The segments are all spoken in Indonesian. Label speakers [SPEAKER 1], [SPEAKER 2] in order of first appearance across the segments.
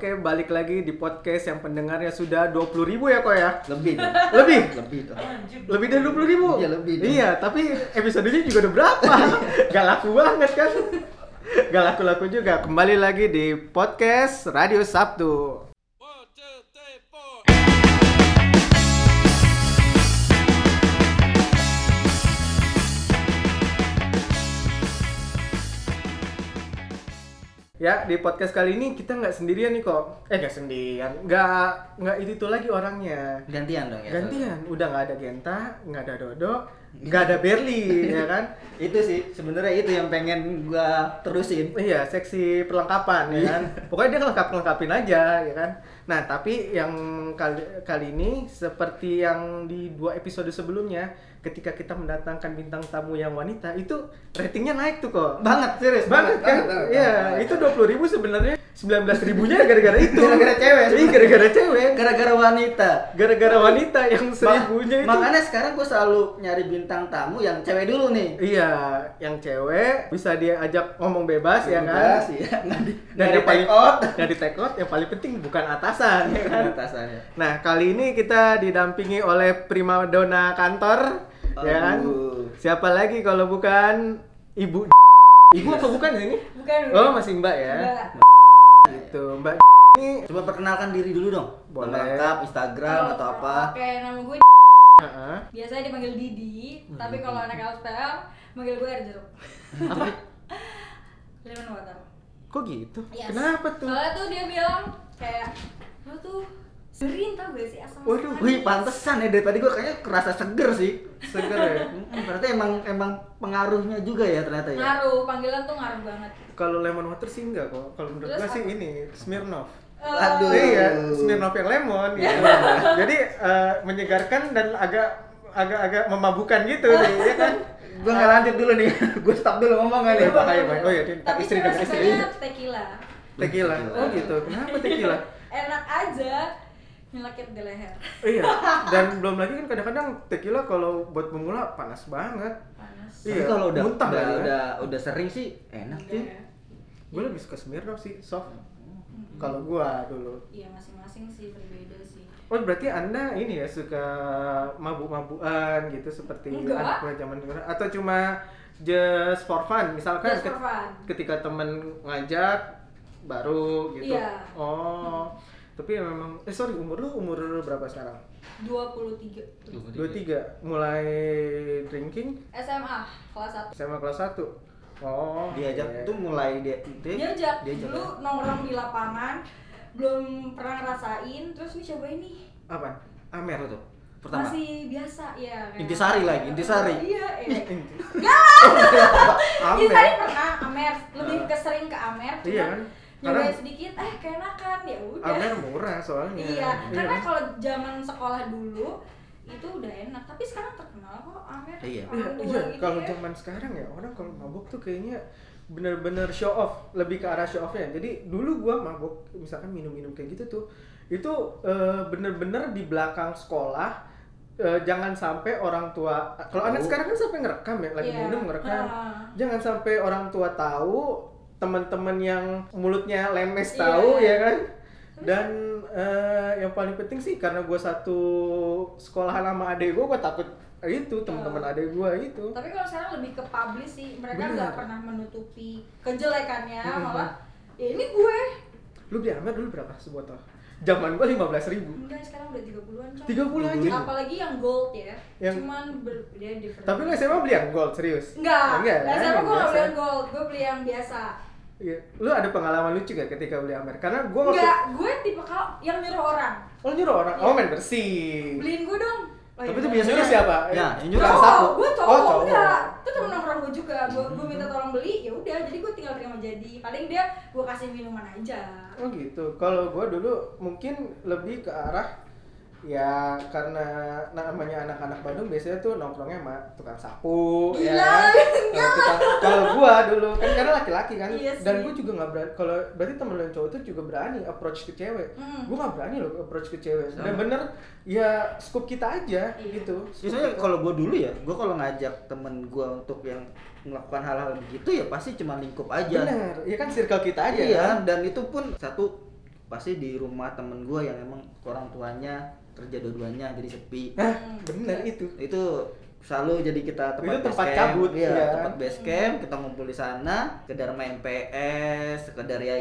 [SPEAKER 1] Oke, balik lagi di podcast yang pendengarnya sudah 20.000 ribu ya kok ya?
[SPEAKER 2] lebih dong
[SPEAKER 1] Lebih?
[SPEAKER 2] lebih dong
[SPEAKER 1] Lebih dari 20.000 ribu?
[SPEAKER 2] Iya, lebih dong.
[SPEAKER 1] Iya, tapi episodenya juga udah berapa? Gak laku banget kan? Gak laku-laku juga. Kembali lagi di podcast Radio Sabtu. Ya, di podcast kali ini kita nggak sendirian nih kok. Eh, nggak sendirian. Nggak, nggak itu tuh lagi orangnya.
[SPEAKER 2] gantian dong ya
[SPEAKER 1] Gantian, udah nggak ada Genta, nggak ada Dodo,
[SPEAKER 2] Iya.
[SPEAKER 1] nggak ada Berli, ya kan?
[SPEAKER 2] itu sih sebenarnya itu yang pengen gua terusin
[SPEAKER 1] Iya, seksi perlengkapan ya
[SPEAKER 2] Iya.
[SPEAKER 1] kan. Pokoknya dia lengkap lengkapin aja ya kan. Nah, tapi yang kali kali ini seperti yang di dua episode sebelumnya, ketika kita mendatangkan bintang tamu yang wanita, itu ratingnya naik tuh kok.
[SPEAKER 2] banget serius
[SPEAKER 1] Banget kan? Iya, itu 20.000 ribu sebenarnya 19.000 ribunya gara-gara itu.
[SPEAKER 2] Gara-gara cewek.
[SPEAKER 1] Iya, gara-gara cewek.
[SPEAKER 2] gara-gara wanita
[SPEAKER 1] Gara-gara wanita yang
[SPEAKER 2] Ma-
[SPEAKER 1] seribunya itu.
[SPEAKER 2] makanya sekarang gua selalu nyari bintang tamu yang cewek dulu nih
[SPEAKER 1] Iya, yang cewek bisa dia ajak ngomong bebas ya kan.
[SPEAKER 2] sih ya nggak di
[SPEAKER 1] Dan
[SPEAKER 2] nggak
[SPEAKER 1] yang paling
[SPEAKER 2] take out
[SPEAKER 1] dan di take out yang paling penting bukan atasan ya kan.
[SPEAKER 2] atasannya
[SPEAKER 1] Nah, kali ini kita didampingi oleh primadona kantor, ya kan?
[SPEAKER 2] Aduh.
[SPEAKER 1] Siapa lagi kalau bukan Ibu Ibu apa bukan sini?
[SPEAKER 3] Bukan.
[SPEAKER 1] Oh, masih Mbak ya.
[SPEAKER 3] Mbak.
[SPEAKER 1] Gitu, Mbak ini
[SPEAKER 2] coba perkenalkan diri dulu dong
[SPEAKER 1] Boleh.
[SPEAKER 2] Nama lengkap Instagram atau apa
[SPEAKER 3] Oke, nama gue
[SPEAKER 1] Heeh.
[SPEAKER 3] biasanya dipanggil Didi,
[SPEAKER 1] Hmm,
[SPEAKER 3] tapi kalau anak LPL manggil gue air jeruk.
[SPEAKER 1] Apa?
[SPEAKER 3] Lemon water.
[SPEAKER 1] Kok gitu?
[SPEAKER 3] Yes.
[SPEAKER 1] Kenapa tuh?
[SPEAKER 3] Soalnya tuh dia bilang kayak lu tuh serin tau gak sih asam
[SPEAKER 1] Waduh,
[SPEAKER 2] Wih, pantesan ya dari tadi gua kayaknya kerasa seger sih.
[SPEAKER 1] Seger ya.
[SPEAKER 2] Hmm, Berarti emang emang pengaruhnya juga ya ternyata ya.
[SPEAKER 3] Ngaruh, panggilan tuh ngaruh banget.
[SPEAKER 1] Kalau lemon water sih enggak kok. Kalau menurut
[SPEAKER 3] Terus
[SPEAKER 1] gua sih
[SPEAKER 3] apa?
[SPEAKER 1] ini Smirnoff.
[SPEAKER 3] Eh,
[SPEAKER 2] Aduh.
[SPEAKER 1] Iya, Smirnoff yang lemon gitu. Jadi eh, menyegarkan dan agak agak-agak memabukan gitu, ya kan?
[SPEAKER 2] gue nggak lanjut dulu nih gue stop dulu ngomong
[SPEAKER 1] Iya,
[SPEAKER 2] kali
[SPEAKER 1] Pak, iya, Pak. Oh iya, dia
[SPEAKER 3] tapi
[SPEAKER 1] istri
[SPEAKER 3] cuma
[SPEAKER 1] dengan istri.
[SPEAKER 3] sukanya tequila.
[SPEAKER 1] Tequila.
[SPEAKER 2] Tequila.
[SPEAKER 1] Oh gitu. Kenapa tequila?
[SPEAKER 3] Enak aja nyelakit di leher.
[SPEAKER 1] iya. Dan belum lagi kan kadang-kadang tequila kalau buat pemula panas banget.
[SPEAKER 3] Panas.
[SPEAKER 2] Tapi
[SPEAKER 1] Iya,
[SPEAKER 2] kalau udah
[SPEAKER 1] muntah
[SPEAKER 2] udah,
[SPEAKER 1] lah ya.
[SPEAKER 2] udah udah sering sih enak sih
[SPEAKER 3] Udah ya.
[SPEAKER 1] Gue lebih suka Smirnoff sih, soft. Kalau gua dulu.
[SPEAKER 3] Iya, masing-masing sih berbeda sih.
[SPEAKER 1] Oh berarti anda ini ya suka mabuk-mabuan gitu seperti
[SPEAKER 3] Enggak.
[SPEAKER 1] anak muda zaman dulu atau cuma just for fun misalkan
[SPEAKER 3] Just
[SPEAKER 1] ket-
[SPEAKER 3] for fun.
[SPEAKER 1] ketika temen ngajak baru gitu.
[SPEAKER 3] Iya.
[SPEAKER 1] Oh tapi ya memang eh sorry umur lu umur berapa sekarang?
[SPEAKER 3] 23
[SPEAKER 1] 23 mulai drinking
[SPEAKER 3] SMA kelas 1
[SPEAKER 1] SMA kelas 1 oh
[SPEAKER 2] diajak
[SPEAKER 1] iya.
[SPEAKER 2] tuh mulai dia dia-
[SPEAKER 3] diajak,
[SPEAKER 2] diajak ya.
[SPEAKER 3] dulu nongkrong di lapangan belum pernah ngerasain terus nih cobain nih
[SPEAKER 1] apa Amer
[SPEAKER 2] Apa tuh? pertama
[SPEAKER 3] masih biasa ya kayak-
[SPEAKER 2] Intisari lagi, intisari.
[SPEAKER 3] iya eh
[SPEAKER 1] Inti-
[SPEAKER 3] intisari
[SPEAKER 1] Amer
[SPEAKER 3] pernah amer lebih kesering ke amer cuman
[SPEAKER 1] Iya kan?
[SPEAKER 3] nyobain
[SPEAKER 1] Karena-
[SPEAKER 3] sedikit eh keenakan ya udah
[SPEAKER 2] kan
[SPEAKER 1] Amer murah
[SPEAKER 2] ya.
[SPEAKER 1] soalnya
[SPEAKER 3] iya karena
[SPEAKER 1] kan?
[SPEAKER 3] kalau zaman sekolah dulu itu udah enak tapi sekarang terkenal kok amer
[SPEAKER 2] Iya.
[SPEAKER 1] Iya,
[SPEAKER 3] orang tua
[SPEAKER 1] iya.
[SPEAKER 3] gitu
[SPEAKER 1] kalau
[SPEAKER 3] ya.
[SPEAKER 1] zaman sekarang ya orang kalau mabuk tuh kayaknya bener-bener show off lebih ke arah show offnya jadi dulu gua mabuk misalkan minum-minum kayak gitu tuh itu eh, bener-bener di belakang sekolah eh, jangan sampai orang tua kalau anak
[SPEAKER 2] Tahu.
[SPEAKER 1] sekarang kan sampai ngerekam ya lagi
[SPEAKER 3] Iya.
[SPEAKER 1] minum ngerekam
[SPEAKER 3] Ah.
[SPEAKER 1] jangan sampai orang tua tahu teman-teman yang mulutnya lemes
[SPEAKER 3] Iya. Hmm.
[SPEAKER 1] tahu ya kan dan eh, yang paling penting sih karena gue satu sekolahan sama adek gue gue takut itu teman-teman adek gue itu
[SPEAKER 3] Tapi kalau sekarang lebih ke publish sih, mereka
[SPEAKER 1] Bener.
[SPEAKER 3] nggak pernah menutupi kejelekannya, malah ya ini gue.
[SPEAKER 1] lu beli Amer dulu berapa sebotol zaman gue lima belas ribu
[SPEAKER 3] Enggak, sekarang udah 30-an, coy.
[SPEAKER 1] tiga puluh aja
[SPEAKER 3] Apalagi yang gold ya.
[SPEAKER 1] Yang-
[SPEAKER 3] Cuman ber- dia different.
[SPEAKER 1] tapi lu SMA beli yang gold serius
[SPEAKER 3] Enggak.
[SPEAKER 1] enggak
[SPEAKER 3] Nah,
[SPEAKER 1] kan?
[SPEAKER 3] sekarang gue nggak
[SPEAKER 1] Biasa.
[SPEAKER 3] beli yang gold, gue beli yang biasa.
[SPEAKER 1] Iya. lu ada pengalaman lucu gak ketika beli Amer karena gue
[SPEAKER 3] Enggak, gue tipe kalau yang nyuruh orang.
[SPEAKER 1] oh lu nyuruh orang
[SPEAKER 3] Iya.
[SPEAKER 1] oh main bersih
[SPEAKER 3] Beliin gue dong. Oh,
[SPEAKER 1] tapi
[SPEAKER 3] iya.
[SPEAKER 1] itu biasanya siapa
[SPEAKER 2] Ya, yang nyuruh
[SPEAKER 3] Cowok,
[SPEAKER 2] Tukang sapu.
[SPEAKER 3] gue cowok,
[SPEAKER 1] Oh, cowok. Hmm.
[SPEAKER 3] enggak itu temen nongkrong gue juga gue gue minta tolong beli ya udah jadi gue tinggal terima jadi paling dia gue kasih minuman aja
[SPEAKER 1] Oh gitu. Kalau gua dulu mungkin lebih ke arah ya karena namanya anak-anak Bandung biasanya tuh nongkrongnya sama tukang sapu ya.
[SPEAKER 3] Gila,
[SPEAKER 1] kan? Kalau tukang- Kalau gua dulu kan karena laki-laki kan
[SPEAKER 3] Iya
[SPEAKER 1] dan
[SPEAKER 3] sih.
[SPEAKER 1] gua juga nggak berani kalau berarti temen lu yang cowok tuh juga berani approach ke cewek.
[SPEAKER 3] Mm.
[SPEAKER 1] Gua nggak berani loh approach ke cewek.
[SPEAKER 2] Sama.
[SPEAKER 1] Dan bener ya scoop kita aja
[SPEAKER 3] Iya.
[SPEAKER 1] gitu. Scoop
[SPEAKER 2] biasanya
[SPEAKER 1] kita.
[SPEAKER 2] kalau gue dulu ya gue kalau ngajak temen gue untuk yang melakukan hal-hal begitu ya pasti cuma lingkup aja
[SPEAKER 1] bener, ya kan circle kita aja.
[SPEAKER 2] iya
[SPEAKER 1] kan?
[SPEAKER 2] dan itu pun satu pasti di rumah temen gue yang emang orang tuanya kerja dua-duanya jadi sepi
[SPEAKER 1] Hah, Nah,
[SPEAKER 3] Mm.
[SPEAKER 1] bener itu.
[SPEAKER 2] itu selalu jadi kita tempat,
[SPEAKER 1] Itu tempat
[SPEAKER 2] base camp.
[SPEAKER 1] cabut,
[SPEAKER 2] Iya,
[SPEAKER 1] ya.
[SPEAKER 2] tempat base camp kita ngumpul di sana sekedar main PS sekedar ya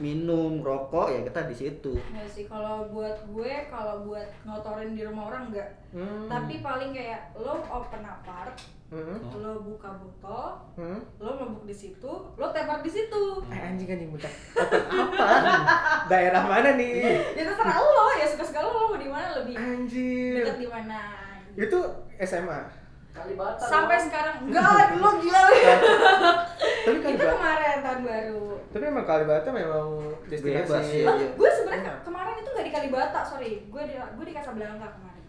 [SPEAKER 2] minum rokok ya kita di situ
[SPEAKER 3] Nggak sih kalau buat gue kalau buat ngotorin di rumah orang enggak.
[SPEAKER 1] Hmm.
[SPEAKER 3] Tapi paling kayak lo open apart,
[SPEAKER 1] Hmm.
[SPEAKER 2] Oh.
[SPEAKER 3] lo buka botol,
[SPEAKER 1] Hmm.
[SPEAKER 3] lo mabuk di situ, lo tepar di situ.
[SPEAKER 1] Eh, anjing anjing budak. Open apa? Daerah mana
[SPEAKER 2] Iya.
[SPEAKER 1] nih?
[SPEAKER 3] Ya terserah lo ya suka-suka lo, lo mau di mana lebih
[SPEAKER 1] Hmm. Anjir.
[SPEAKER 3] dekat di mana.
[SPEAKER 1] Itu SMA.
[SPEAKER 4] Kalibata.
[SPEAKER 3] Sampai sekarang enggak lah dulu gila lo.
[SPEAKER 1] Tapi kan
[SPEAKER 3] Itu kemarin tahun baru.
[SPEAKER 1] Tapi emang Kalibata memang
[SPEAKER 2] Bebas,
[SPEAKER 1] destinasi.
[SPEAKER 2] iya.
[SPEAKER 3] Lah, gue sebenarnya ke- kemarin itu nggak di Kalibata, sorry. Gue di gue di Casablanca kemarin.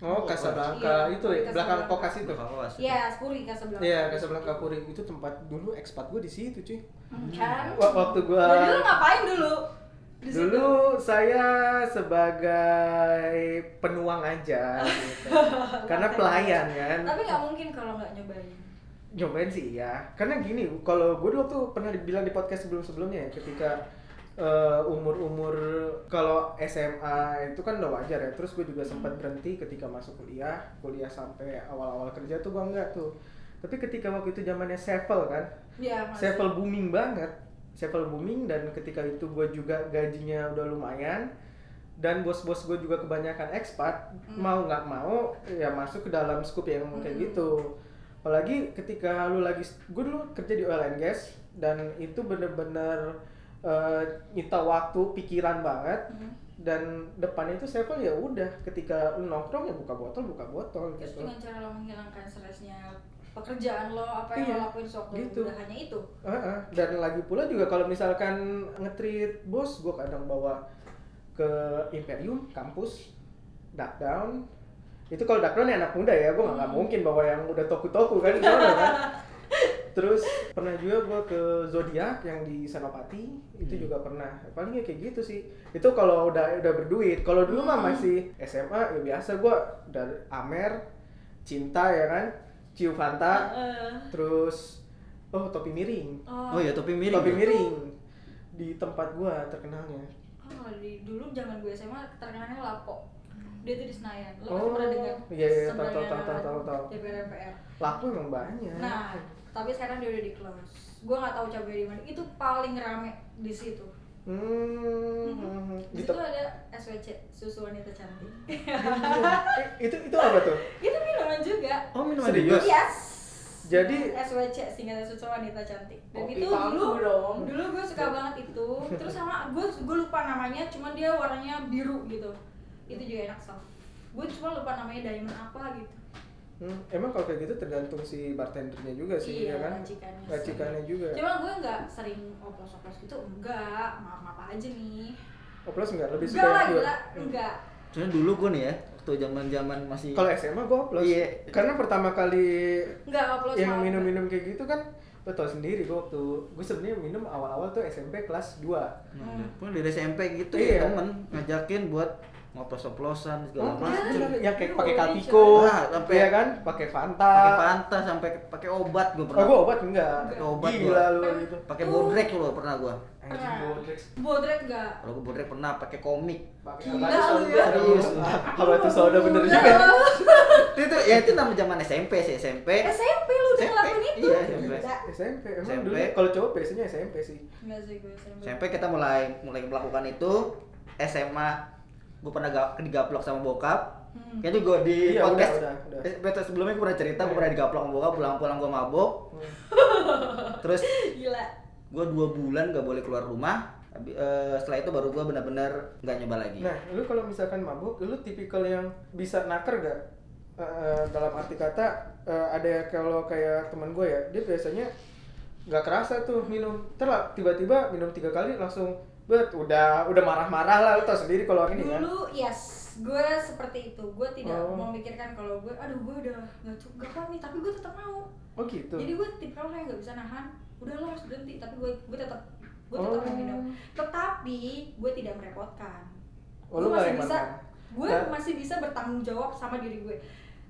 [SPEAKER 1] Oh, Casablanca
[SPEAKER 3] Iya,
[SPEAKER 1] itu ya,
[SPEAKER 3] Casablanca.
[SPEAKER 1] belakang kokas itu.
[SPEAKER 2] Awas.
[SPEAKER 3] Iya, Spuri Casablanca.
[SPEAKER 1] Iya, Casablanca Puri itu tempat dulu ekspat gue di situ, cuy.
[SPEAKER 3] Hmm, Kan?
[SPEAKER 1] Wa- waktu gua-
[SPEAKER 3] Lo dulu ngapain dulu? Di situ.
[SPEAKER 1] Dulu saya sebagai penuang aja gitu. Karena pelayan kan.
[SPEAKER 3] Tapi nggak mungkin kalau nggak nyobain.
[SPEAKER 1] Nyobain sih iya. Karena gini, kalau gue dulu tuh pernah dibilang di podcast sebelum-sebelumnya ya, ketika eh, umur-umur kalau SMA itu kan udah wajar ya. Terus gue juga sempat berhenti ketika masuk kuliah, kuliah sampai awal-awal kerja tuh gue enggak tuh. Tapi ketika waktu itu zamannya Sevel kan,
[SPEAKER 3] Iya, Mas.
[SPEAKER 1] Sevel booming banget. Sevel booming dan ketika itu gue juga gajinya udah lumayan dan bos-bos gue juga kebanyakan ekspat
[SPEAKER 3] Hmm.
[SPEAKER 1] mau nggak mau ya masuk ke dalam scoop yang kayak
[SPEAKER 3] Hmm.
[SPEAKER 1] gitu apalagi ketika lu lagi gue dulu kerja di oil and gas dan itu bener-bener eh, nyita waktu pikiran banget
[SPEAKER 3] Hmm.
[SPEAKER 1] dan depannya itu Sevel ya udah ketika lu nongkrong ya buka botol buka botol
[SPEAKER 3] Terus
[SPEAKER 1] gitu
[SPEAKER 3] dengan cara lo menghilangkan stresnya pekerjaan lo, apa yang
[SPEAKER 1] Iya,
[SPEAKER 3] lo lakuin sewaktu
[SPEAKER 1] gitu.
[SPEAKER 3] udah hanya itu.
[SPEAKER 1] Heeh, Dan lagi pula juga kalau misalkan ngetrit bos, gue kadang bawa ke Imperium, kampus, duck down. Itu kalau duck down ya anak muda ya, gue nggak nggak mungkin bawa yang udah toku-toku kan. gimana kan? Terus pernah juga gue ke Zodiac yang di Senopati, itu
[SPEAKER 2] Hmm.
[SPEAKER 1] juga pernah. Palingnya kayak gitu sih. Itu kalau udah udah berduit. Kalau dulu mah masih SMA ya biasa gue dari Amer, Cinta ya kan, Ciu Fanta,
[SPEAKER 3] Heeh.
[SPEAKER 1] terus oh topi miring
[SPEAKER 2] oh ya topi miring
[SPEAKER 1] topi
[SPEAKER 2] ya?
[SPEAKER 1] miring di tempat gua terkenalnya
[SPEAKER 3] Oh, kalau di dulu zaman gue SMA terkenalnya Lapo. Dia tuh di Senayan. Lo pasti
[SPEAKER 1] Oh,
[SPEAKER 3] pernah dengar?
[SPEAKER 1] iya, iya, tahu, tahu,
[SPEAKER 3] Senayan,
[SPEAKER 1] tahu, tahu, Iya. tahu.
[SPEAKER 3] DPR MPR.
[SPEAKER 1] laku emang banyak
[SPEAKER 3] Nah, tapi sekarang dia udah di close. Gue nggak tahu cabai di mana. Itu paling rame di situ.
[SPEAKER 1] hmm, di
[SPEAKER 3] Di situ
[SPEAKER 1] tem-
[SPEAKER 3] ada SWC, susu wanita cantik.
[SPEAKER 1] Eh, itu itu apa tuh
[SPEAKER 3] itu minuman juga.
[SPEAKER 2] oh minuman
[SPEAKER 1] Serius?
[SPEAKER 2] juga
[SPEAKER 3] Yes.
[SPEAKER 1] Jadi- Oh,
[SPEAKER 3] SWC singkatan susu wanita cantik. Dan
[SPEAKER 4] Kopi
[SPEAKER 3] itu
[SPEAKER 4] palsu
[SPEAKER 3] dulu
[SPEAKER 4] dong.
[SPEAKER 3] dulu gue suka banget itu. Terus sama gue gue lupa namanya, cuman dia warnanya biru gitu. Itu juga enak soft. Gue cuma lupa namanya diamond apa gitu.
[SPEAKER 1] Hmm, emang kalau kayak gitu tergantung si bartendernya juga sih ya
[SPEAKER 3] Iya,
[SPEAKER 1] kan
[SPEAKER 3] racikannya sih.
[SPEAKER 1] racikannya juga
[SPEAKER 3] Cuma gue nggak sering oplos-oplos gitu, enggak. Maaf-maaf aja nih.
[SPEAKER 1] oplos enggak lebih suka
[SPEAKER 3] Enggak lah,
[SPEAKER 1] yang pure.
[SPEAKER 3] gila, enggak.
[SPEAKER 2] Soalnya dulu gue nih ya waktu zaman zaman masih
[SPEAKER 1] Hmm. kalau SMA gua oplos
[SPEAKER 2] Iya.
[SPEAKER 1] karena pertama kali
[SPEAKER 3] Enggak oplos
[SPEAKER 1] yang
[SPEAKER 3] maaf.
[SPEAKER 1] minum-minum kayak gitu kan lo tau sendiri gua waktu gua sebenarnya minum awal-awal tuh SMP kelas 2
[SPEAKER 2] Nah, pun dari SMP gitu
[SPEAKER 1] Iya.
[SPEAKER 2] ya temen ngajakin buat ngoplos-oplosan segala
[SPEAKER 1] Oh,
[SPEAKER 2] macam.
[SPEAKER 1] iya, yang kayak
[SPEAKER 3] Iya,
[SPEAKER 1] pakai
[SPEAKER 3] iya,
[SPEAKER 1] kapiko,
[SPEAKER 2] coy. Nah, sampai-
[SPEAKER 1] ya kan, pakai Fanta.
[SPEAKER 2] pakai pantas sampai pakai obat gue
[SPEAKER 1] Oh,
[SPEAKER 2] pernah.
[SPEAKER 1] gua obat enggak?
[SPEAKER 2] Pakai obat
[SPEAKER 1] Gila
[SPEAKER 2] gua.
[SPEAKER 1] lu gitu.
[SPEAKER 2] Pakai bodrek lo pernah gue.
[SPEAKER 1] Anjing bodrek.
[SPEAKER 3] Bodrek enggak.
[SPEAKER 2] Kalau gue bodrek pernah pakai komik.
[SPEAKER 1] Pakai
[SPEAKER 3] Gila
[SPEAKER 1] apa
[SPEAKER 3] lu ya.
[SPEAKER 2] Serius.
[SPEAKER 1] Apa itu soda bener juga? ya?
[SPEAKER 2] itu, itu ya itu nama zaman SMP sih SMP.
[SPEAKER 3] SMP lu udah
[SPEAKER 2] SMP,
[SPEAKER 3] ngelakuin itu.
[SPEAKER 2] iya, SMP.
[SPEAKER 3] Gila.
[SPEAKER 1] SMP emang
[SPEAKER 2] SMP.
[SPEAKER 1] dulu kalau cowok biasanya SMP sih.
[SPEAKER 3] Enggak sih gue SMP.
[SPEAKER 2] SMP kita mulai mulai melakukan itu SMA gue pernah ga, digaplok sama bokap
[SPEAKER 3] Hmm.
[SPEAKER 2] kayaknya gue di
[SPEAKER 1] Iya, udah,
[SPEAKER 2] podcast
[SPEAKER 1] udah, udah. Iya.
[SPEAKER 2] episode sebelumnya gue pernah cerita gue pernah digaplok sama bokap pulang-pulang gue mabok
[SPEAKER 1] Hmm.
[SPEAKER 2] terus
[SPEAKER 3] Gila.
[SPEAKER 2] gue dua bulan gak boleh keluar rumah Habi- eh, setelah itu baru gue benar-benar nggak nyoba lagi
[SPEAKER 1] Nah, lu kalau misalkan mabuk, lu tipikal yang bisa naker gak? Eh, eh, dalam arti kata eh, ada ya kalau kayak teman gue ya, dia biasanya nggak kerasa tuh minum. Terus tiba-tiba minum tiga kali langsung bet udah udah marah-marah lah lu tau sendiri kalau ini kan.
[SPEAKER 3] Dulu yes, gue seperti itu. Gue tidak
[SPEAKER 1] Oh.
[SPEAKER 3] memikirkan kalau gue aduh gue udah nggak cukup gak nih, tapi gue tetap mau.
[SPEAKER 1] Oh gitu.
[SPEAKER 3] Jadi gue tipe orang yang nggak bisa nahan. Udah lo harus berhenti, tapi gue gue tetap gue tetap
[SPEAKER 1] Oh.
[SPEAKER 3] minum. Tetapi gue tidak merepotkan.
[SPEAKER 1] Oh, lu nggak
[SPEAKER 3] Gue masih
[SPEAKER 1] yang
[SPEAKER 3] bisa
[SPEAKER 1] mana?
[SPEAKER 3] gue
[SPEAKER 1] Nah.
[SPEAKER 3] masih bisa bertanggung jawab sama diri gue.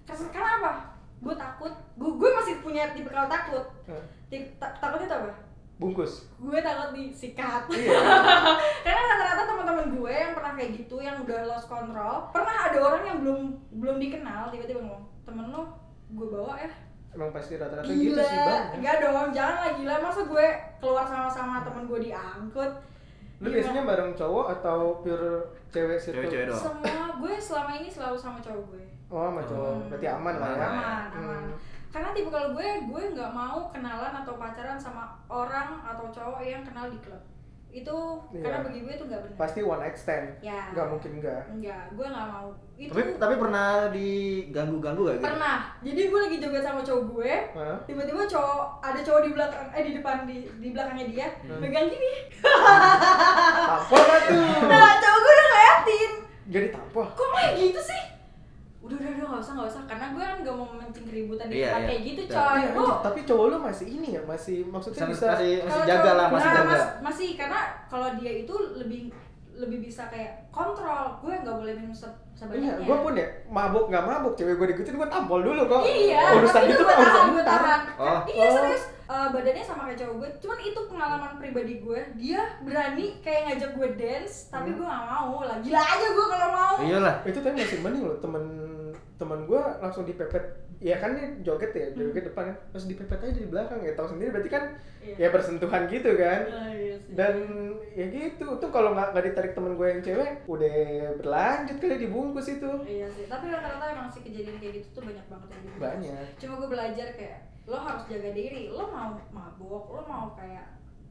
[SPEAKER 3] Karena karena apa? Gue takut. Gue gue masih punya tipe kalau takut.
[SPEAKER 1] Nah,
[SPEAKER 3] Ti- ta- takutnya tuh apa?
[SPEAKER 1] bungkus
[SPEAKER 3] gue takut disikat
[SPEAKER 1] iya
[SPEAKER 3] karena rata-rata teman-teman gue yang pernah kayak gitu yang udah lost control pernah ada orang yang belum belum dikenal tiba-tiba ngomong temen lo gue bawa ya
[SPEAKER 1] emang pasti rata-rata gitu
[SPEAKER 3] gila
[SPEAKER 1] sih bang
[SPEAKER 3] enggak dong jangan lah gila masa gue keluar sama-sama temen gue diangkut
[SPEAKER 1] lu
[SPEAKER 3] Gila.
[SPEAKER 1] biasanya bareng cowok atau pure cewek circle
[SPEAKER 2] Cewek-cewek doang.
[SPEAKER 3] semua gue selama ini selalu sama cowok gue
[SPEAKER 1] oh sama cowok
[SPEAKER 3] Hmm.
[SPEAKER 1] berarti aman lah ya
[SPEAKER 3] aman aman
[SPEAKER 1] Hmm.
[SPEAKER 3] karena tipe kalau gue gue nggak mau kenalan atau pacaran sama orang atau cowok yang kenal di klub itu
[SPEAKER 1] Iya.
[SPEAKER 3] karena bagi gue itu nggak benar
[SPEAKER 1] pasti one night stand
[SPEAKER 3] ya
[SPEAKER 1] nggak mungkin enggak
[SPEAKER 3] enggak gue nggak mau itu
[SPEAKER 2] Tapi tapi pernah diganggu-ganggu gak gitu?
[SPEAKER 3] pernah jadi gue lagi joget sama cowok gue
[SPEAKER 1] Hah?
[SPEAKER 3] tiba-tiba cowok ada cowok di belakang eh di depan di di belakangnya dia
[SPEAKER 1] Hmm.
[SPEAKER 3] pegang gini
[SPEAKER 1] tampol nggak tuh
[SPEAKER 3] nah cowok gue udah ngeliatin
[SPEAKER 1] jadi tampol
[SPEAKER 3] kok kayak gitu sih udah udah udah nggak usah nggak usah karena gue kan nggak mau memancing keributan di
[SPEAKER 2] Iya,
[SPEAKER 3] tempat
[SPEAKER 2] iya.
[SPEAKER 3] kayak gitu
[SPEAKER 2] Betul.
[SPEAKER 3] coy
[SPEAKER 1] Iya,
[SPEAKER 3] Lu-
[SPEAKER 1] tapi cowok lu masih ini ya masih maksudnya
[SPEAKER 2] Sama-
[SPEAKER 1] bisa Iya,
[SPEAKER 2] masih masih
[SPEAKER 3] Kalau
[SPEAKER 2] jaga
[SPEAKER 3] cowok-
[SPEAKER 2] lah, masih
[SPEAKER 3] nah,
[SPEAKER 2] jaga.
[SPEAKER 3] mas- masih karena kalau dia itu lebih lebih bisa kayak kontrol gue nggak boleh minum se-
[SPEAKER 1] Iya,
[SPEAKER 3] sebanyaknya
[SPEAKER 1] gue pun ya mabuk nggak mabuk, cewek gue digutin gue tampol dulu kok.
[SPEAKER 3] iya
[SPEAKER 1] urusan
[SPEAKER 3] tapi
[SPEAKER 1] itu
[SPEAKER 3] gue
[SPEAKER 1] mah urusan
[SPEAKER 3] tahan gue
[SPEAKER 1] ntar.
[SPEAKER 3] tahan
[SPEAKER 2] Oh.
[SPEAKER 3] iya
[SPEAKER 1] Oh.
[SPEAKER 3] serius Eh, badannya sama kayak cowok gue cuman itu pengalaman pribadi gue dia berani kayak ngajak gue dance tapi
[SPEAKER 1] Hmm.
[SPEAKER 3] gue nggak mau lah gila aja gue kalau mau
[SPEAKER 2] Iyalah.
[SPEAKER 1] Itu tapi masih mending loh temen temen gue langsung dipepet. Ya kan dia joget ya,
[SPEAKER 3] Hmm.
[SPEAKER 1] joget depan kan, terus dipepet aja di belakang ya tahu sendiri berarti kan ya bersentuhan gitu kan.
[SPEAKER 3] Ah, iya sih.
[SPEAKER 1] Dan ya gitu, tuh kalau nggak nggak ditarik temen gue yang cewek, udah berlanjut kali dibungkus itu.
[SPEAKER 3] Iya sih, tapi rata-rata emang sih kejadian kayak gitu tuh banyak banget yang gitu.
[SPEAKER 1] Banyak.
[SPEAKER 3] Cuma gue belajar kayak lo harus jaga diri, lo mau mabok, lo mau kayak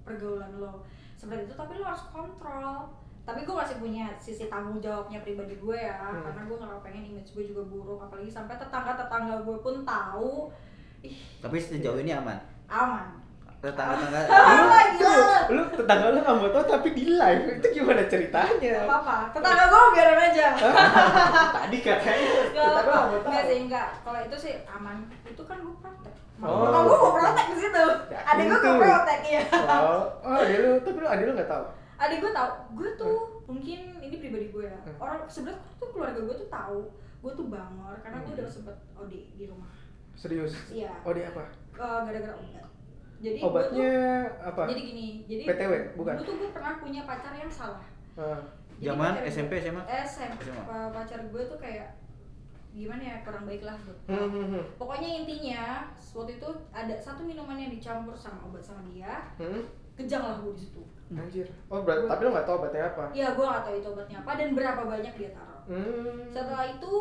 [SPEAKER 3] pergaulan lo seperti itu, tapi lo harus kontrol. Tapi gue masih punya sisi tanggung jawabnya pribadi gue ya,
[SPEAKER 1] Hmm.
[SPEAKER 3] karena gue nggak pengen image gue juga buruk, apalagi sampai tetangga-tetangga gue pun tahu, ih
[SPEAKER 2] Tapi sejauh ini aman.
[SPEAKER 3] aman.
[SPEAKER 2] Tetangga-tetangga.
[SPEAKER 1] Lu,
[SPEAKER 3] Ah,
[SPEAKER 1] tuh,
[SPEAKER 3] gila.
[SPEAKER 1] lu tetangga lu nggak mau tau tapi di live itu gimana ceritanya?
[SPEAKER 3] Gak apa-apa, tetangga gue biarin aja.
[SPEAKER 1] Tadi katanya
[SPEAKER 3] Gak
[SPEAKER 1] tetangga
[SPEAKER 3] apa-apa,
[SPEAKER 1] nggak mau
[SPEAKER 3] Nggak
[SPEAKER 1] tahu.
[SPEAKER 3] sih, enggak. Kalau itu sih aman. Itu kan gue praktek.
[SPEAKER 1] Oh.
[SPEAKER 3] Kalau gue mau praktek di situ.
[SPEAKER 1] Ya,
[SPEAKER 3] Adik gue
[SPEAKER 1] itu.
[SPEAKER 3] mau praktek, iya.
[SPEAKER 1] Oh, oh adek lu, tapi lu adek lu nggak tahu.
[SPEAKER 3] Adik gue tahu, gue tuh mungkin ini pribadi gue ya.
[SPEAKER 1] Hmm.
[SPEAKER 3] Orang sebenarnya tuh keluarga gue tuh tahu gue tuh bangor karena
[SPEAKER 1] Hmm.
[SPEAKER 3] gue udah sempet OD di rumah.
[SPEAKER 1] Serius.
[SPEAKER 3] Iya.
[SPEAKER 1] Oh dia apa?
[SPEAKER 3] Eh, gara-gara obat. Jadi gue
[SPEAKER 1] Obatnya
[SPEAKER 3] tuh
[SPEAKER 1] apa?
[SPEAKER 3] jadi gini, jadi
[SPEAKER 1] PTW, bukan?
[SPEAKER 3] Dulu tuh gue pernah punya pacar yang salah.
[SPEAKER 1] Ah,
[SPEAKER 3] Jadi
[SPEAKER 2] Zaman
[SPEAKER 3] pacar gue-
[SPEAKER 2] SMP, SMA?
[SPEAKER 3] SMP.
[SPEAKER 2] SMA.
[SPEAKER 3] Pacar gue tuh kayak gimana ya kurang baik lah gitu.
[SPEAKER 1] hmm, hmm, hmm.
[SPEAKER 3] Pokoknya intinya waktu itu ada satu minuman yang dicampur sama obat sama dia,
[SPEAKER 1] Hmm?
[SPEAKER 3] kejang lah gue di situ.
[SPEAKER 1] Anjir. Oh, berarti tapi lu nggak tahu obatnya apa?
[SPEAKER 3] Ya gue gak tahu itu obatnya apa dan berapa banyak dia taruh.
[SPEAKER 1] Hmm.
[SPEAKER 3] Setelah itu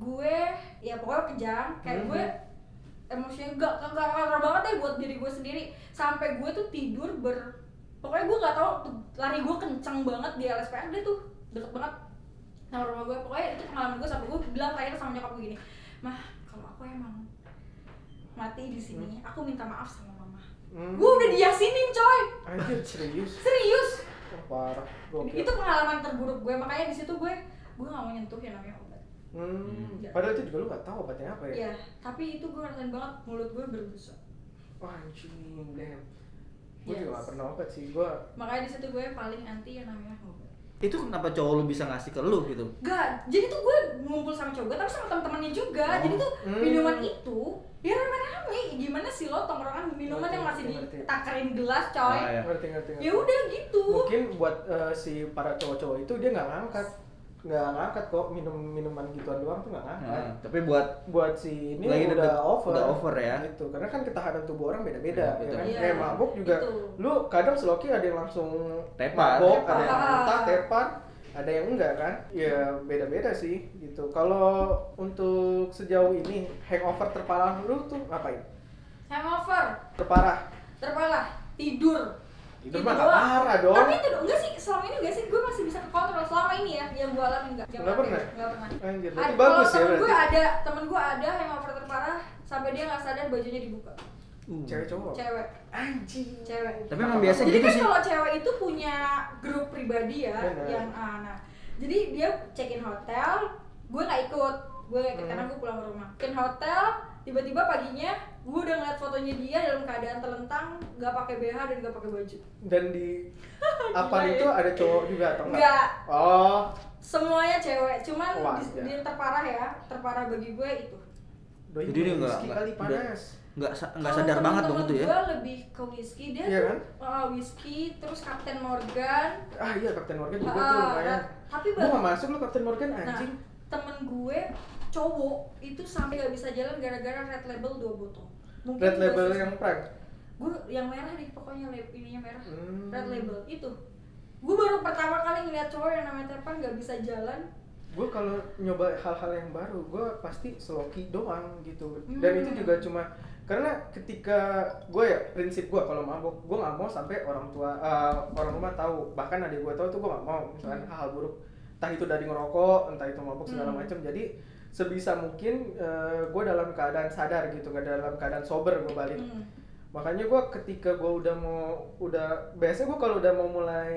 [SPEAKER 3] gue ya pokoknya kejang, kayak
[SPEAKER 1] Hmm.
[SPEAKER 3] gue emosinya gak gak gak banget deh buat diri gue sendiri sampai gue tuh tidur ber pokoknya gue nggak tahu tuh, lari gue kenceng banget di LSPR dia tuh deket banget sama rumah gue pokoknya itu pengalaman gue sampai gue bilang terakhir sama nyokap gue gini mah kalau aku emang mati di sini aku minta maaf sama mama
[SPEAKER 1] Hmm.
[SPEAKER 3] gue udah diyasinin coy
[SPEAKER 1] Anjir serius.
[SPEAKER 3] serius
[SPEAKER 1] Oh, parah. Gokil.
[SPEAKER 3] itu pengalaman terburuk gue makanya di situ gue gue nggak mau nyentuh yang namanya obat
[SPEAKER 1] Hmm. Padahal itu juga lu nggak tahu obatnya apa ya?
[SPEAKER 3] ya tapi itu gue ngerasain banget mulut gue berbusuk
[SPEAKER 1] Wah, anjing, damn. Gue
[SPEAKER 3] Yes.
[SPEAKER 1] juga nggak pernah obat sih. Gue
[SPEAKER 3] makanya di situ gue paling anti yang namanya obat
[SPEAKER 2] Itu kenapa cowok lu bisa ngasih ke lu gitu?
[SPEAKER 3] Gak, jadi tuh gue ngumpul sama cowok gue, tapi sama temen-temennya juga
[SPEAKER 2] Oh.
[SPEAKER 3] Jadi tuh
[SPEAKER 1] Hmm.
[SPEAKER 3] minuman itu, ya rame-rame Gimana sih lo tongkrongan minuman
[SPEAKER 1] Ngerti,
[SPEAKER 3] yang masih
[SPEAKER 1] ngerti, ngerti.
[SPEAKER 3] ditakarin gelas coy
[SPEAKER 2] Ah, iya.
[SPEAKER 1] ngerti ngerti. ngerti.
[SPEAKER 3] Ya udah gitu
[SPEAKER 1] Mungkin buat eh, si para cowok-cowok itu dia nggak ngangkat nggak ngangkat kok minum minuman gituan doang tuh nggak ngangkat.
[SPEAKER 2] Nah, tapi buat
[SPEAKER 1] buat si ini
[SPEAKER 2] Lagi
[SPEAKER 1] udah
[SPEAKER 2] deket-
[SPEAKER 1] over
[SPEAKER 2] udah over ya.
[SPEAKER 1] gitu karena kan ketahanan tubuh orang beda-beda
[SPEAKER 2] Iya,
[SPEAKER 1] ya,
[SPEAKER 2] betul.
[SPEAKER 1] kan
[SPEAKER 3] Iya,
[SPEAKER 1] kayak mabuk juga
[SPEAKER 3] gitu.
[SPEAKER 1] lu kadang seloki ada yang langsung
[SPEAKER 2] Tepat.
[SPEAKER 1] mabuk
[SPEAKER 3] Tepat. Ah.
[SPEAKER 1] ada yang muntah tepat ada yang enggak kan ya beda-beda sih gitu kalau untuk sejauh ini hangover terparah lu tuh ngapain
[SPEAKER 3] Hangover,
[SPEAKER 1] terparah
[SPEAKER 3] terpalah, tidur
[SPEAKER 1] Tidur
[SPEAKER 3] Gitu
[SPEAKER 1] mah nggak
[SPEAKER 3] doang.
[SPEAKER 1] parah dong.
[SPEAKER 3] Tapi itu dong, enggak sih, selama ini enggak sih, gue masih bisa kontrol selama ini ya Yang gue alami enggak
[SPEAKER 1] Nggak pernah?
[SPEAKER 3] Enggak pernah
[SPEAKER 1] Anjir, berarti
[SPEAKER 3] Ada- kalau
[SPEAKER 1] bagus ya
[SPEAKER 3] temen gue
[SPEAKER 1] berarti
[SPEAKER 3] ada, temen gue ada hangover terparah Sampai dia gak sadar bajunya dibuka
[SPEAKER 2] uh. Hmm.
[SPEAKER 1] cewek cowok
[SPEAKER 3] Cewek
[SPEAKER 1] anjing
[SPEAKER 3] Cewek.
[SPEAKER 2] Tapi emang biasa
[SPEAKER 3] jadi
[SPEAKER 2] gitu
[SPEAKER 3] kan
[SPEAKER 2] sih.
[SPEAKER 3] kalau cewek itu punya grup pribadi ya
[SPEAKER 1] Benar.
[SPEAKER 3] yang ah, nah jadi dia check in hotel gue nggak ikut gue nggak ikut
[SPEAKER 1] Hmm.
[SPEAKER 3] karena gue pulang ke rumah check in hotel tiba-tiba paginya gue udah ngeliat fotonya dia dalam keadaan telentang nggak pakai BH dan nggak pakai baju
[SPEAKER 1] dan di apa
[SPEAKER 3] Gila ya.
[SPEAKER 1] itu ada cowok juga atau enggak,
[SPEAKER 3] Nggak.
[SPEAKER 1] oh
[SPEAKER 3] semuanya cewek cuman
[SPEAKER 1] Wah,
[SPEAKER 3] di,
[SPEAKER 1] ya.
[SPEAKER 3] di terparah ya terparah bagi gue itu
[SPEAKER 1] doi
[SPEAKER 2] Jadi dia nggak-
[SPEAKER 1] whisky kali
[SPEAKER 2] nggak-
[SPEAKER 1] panas
[SPEAKER 2] nggak sa- nggak sadar banget dong itu ya
[SPEAKER 3] Gue lebih ke whiskey dia
[SPEAKER 1] Iya
[SPEAKER 3] tuh
[SPEAKER 1] kan?
[SPEAKER 3] uh, whiskey terus Captain Morgan.
[SPEAKER 1] ah iya Captain Morgan juga
[SPEAKER 3] Ah,
[SPEAKER 1] tuh lumayan
[SPEAKER 3] tapi
[SPEAKER 1] gua
[SPEAKER 3] baru
[SPEAKER 1] nggak masuk lo Captain Morgan
[SPEAKER 3] nah,
[SPEAKER 1] anjing
[SPEAKER 3] temen gue cowok itu sampai nggak bisa jalan gara-gara red label dua botol. Mungkin
[SPEAKER 1] red
[SPEAKER 3] juga
[SPEAKER 1] label
[SPEAKER 3] sih.
[SPEAKER 1] yang prime
[SPEAKER 3] gue yang merah nih pokoknya lab- ininya merah
[SPEAKER 1] Hmm.
[SPEAKER 3] red label itu gue baru pertama kali ngeliat cowok yang namanya Tepan nggak bisa jalan
[SPEAKER 1] gue kalau nyoba hal-hal yang baru gue pasti seloki doang gitu dan
[SPEAKER 3] Hmm.
[SPEAKER 1] itu juga cuma karena ketika gue ya prinsip gue kalau mabok gue nggak mau sampai orang tua eh, orang rumah tahu bahkan adik gue tahu tuh gue nggak mau misalkan hal-hal buruk entah itu dari ngerokok entah itu mabok segala
[SPEAKER 3] Hmm.
[SPEAKER 1] macam jadi sebisa mungkin gue dalam keadaan sadar gitu nggak dalam keadaan sober gue balik
[SPEAKER 3] Hmm.
[SPEAKER 1] makanya gue ketika gue udah mau udah biasanya gue kalau udah mau mulai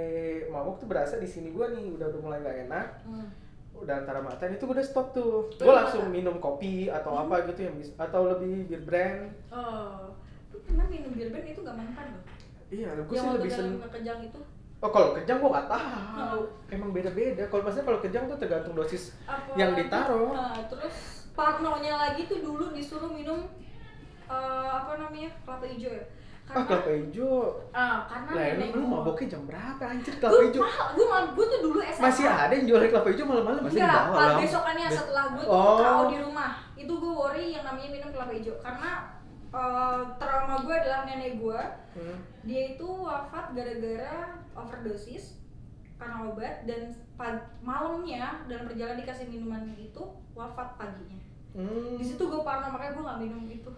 [SPEAKER 1] mabok tuh berasa di sini gue nih udah udah mulai nggak enak
[SPEAKER 3] Hmm.
[SPEAKER 1] udah antara mata itu gue udah stop tuh
[SPEAKER 3] Lu
[SPEAKER 1] gue langsung
[SPEAKER 3] gimana?
[SPEAKER 1] minum kopi atau
[SPEAKER 3] Hmm.
[SPEAKER 1] apa gitu yang bisa atau lebih bir brand
[SPEAKER 3] oh lu pernah minum bir band itu nggak mantan loh
[SPEAKER 1] iya gue
[SPEAKER 3] yang
[SPEAKER 1] sih
[SPEAKER 3] waktu
[SPEAKER 1] lebih
[SPEAKER 3] dalam
[SPEAKER 1] seneng
[SPEAKER 3] kejang itu
[SPEAKER 1] oh kalau kejang gue nggak tahu
[SPEAKER 3] Oh.
[SPEAKER 1] emang beda beda kalau maksudnya kalau kejang tuh tergantung dosis
[SPEAKER 3] apa
[SPEAKER 1] Yang ditaruh.
[SPEAKER 3] Nah, terus partnernya lagi tuh dulu disuruh minum eh, apa namanya kelapa hijau ya
[SPEAKER 1] ah kelapa hijau
[SPEAKER 3] ah, karena
[SPEAKER 1] lah emang
[SPEAKER 3] nenek
[SPEAKER 1] lu
[SPEAKER 3] gua-
[SPEAKER 1] maboknya jam berapa anjir kelapa
[SPEAKER 3] Gua
[SPEAKER 1] hijau
[SPEAKER 3] mahal, gua mahal, gua tuh dulu SMA
[SPEAKER 1] masih ada yang jualan kelapa hijau malam-malam
[SPEAKER 2] Masih
[SPEAKER 3] Enggak,
[SPEAKER 2] dibawa
[SPEAKER 3] pas
[SPEAKER 2] lah.
[SPEAKER 3] besokannya
[SPEAKER 2] Bes-
[SPEAKER 3] setelah gue
[SPEAKER 1] Oh.
[SPEAKER 3] KO di rumah Itu gue worry yang namanya minum kelapa hijau Karena eh, trauma gue adalah nenek gue
[SPEAKER 1] Hmm.
[SPEAKER 3] Dia itu wafat gara-gara overdosis Karena obat dan pag- malamnya dalam perjalanan dikasih minuman itu Wafat paginya
[SPEAKER 1] Hmm.
[SPEAKER 3] di situ gue parno makanya gue nggak minum itu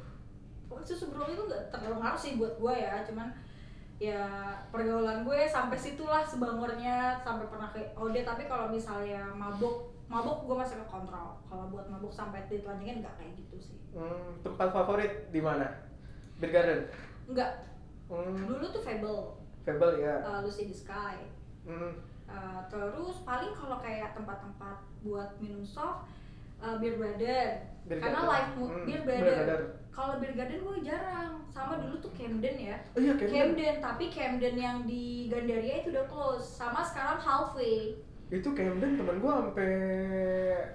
[SPEAKER 3] pokoknya sebelum itu nggak terpengaruh sih buat gue ya cuman ya pergaulan gue sampai situlah sebangornya sampai pernah ke OD tapi kalau misalnya mabuk mabuk gue masih ke kontrol kalau buat mabuk sampai ditelanjangin nggak kayak gitu sih
[SPEAKER 1] Hmm, tempat favorit di mana bir garden
[SPEAKER 3] nggak
[SPEAKER 1] hmm.
[SPEAKER 3] dulu tuh Fable
[SPEAKER 1] Fable ya
[SPEAKER 3] uh, Lucy in the Sky
[SPEAKER 1] hmm.
[SPEAKER 3] Uh, terus paling kalau kayak tempat-tempat buat minum soft uh, beer garden
[SPEAKER 1] Beer
[SPEAKER 3] karena
[SPEAKER 1] garden.
[SPEAKER 3] live mu-
[SPEAKER 1] Hmm,
[SPEAKER 3] beer
[SPEAKER 1] beer
[SPEAKER 3] garden,
[SPEAKER 1] garden.
[SPEAKER 3] kalau beer garden gue jarang sama dulu tuh Camden ya
[SPEAKER 1] oh iya
[SPEAKER 3] Camden.
[SPEAKER 1] Camden
[SPEAKER 3] tapi Camden yang di Gandaria itu udah close sama sekarang halfway
[SPEAKER 1] itu Camden teman gue sampai